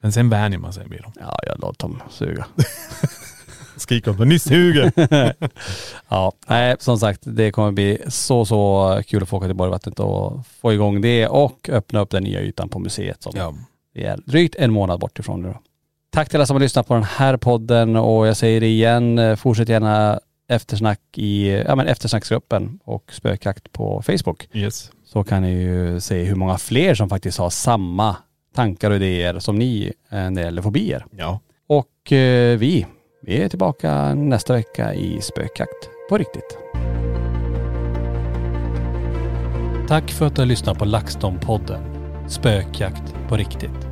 [SPEAKER 4] Men sen vänjer man sig vid dem.
[SPEAKER 3] Ja jag låter dem suga.
[SPEAKER 4] Skrik åt dem, ni suger!
[SPEAKER 3] [laughs] Ja, nej som sagt det kommer bli så så kul att få åka till Borgvattnet och få igång det och öppna upp den nya ytan på museet som vi är drygt en månad bort ifrån nu då. Tack till alla som har lyssnat på den här podden och jag säger det igen, eh, fortsätt gärna eftersnack i, ja men eftersnacksgruppen och spökjakt på Facebook.
[SPEAKER 4] Yes.
[SPEAKER 3] så kan ni ju se hur många fler som faktiskt har samma tankar och idéer som ni eh, när det gäller fobier.
[SPEAKER 4] Ja.
[SPEAKER 3] Och eh, vi, vi är tillbaka nästa vecka i spökjakt på riktigt. Tack för att du har lyssnat på LaxTon-podden Spökjakt på riktigt.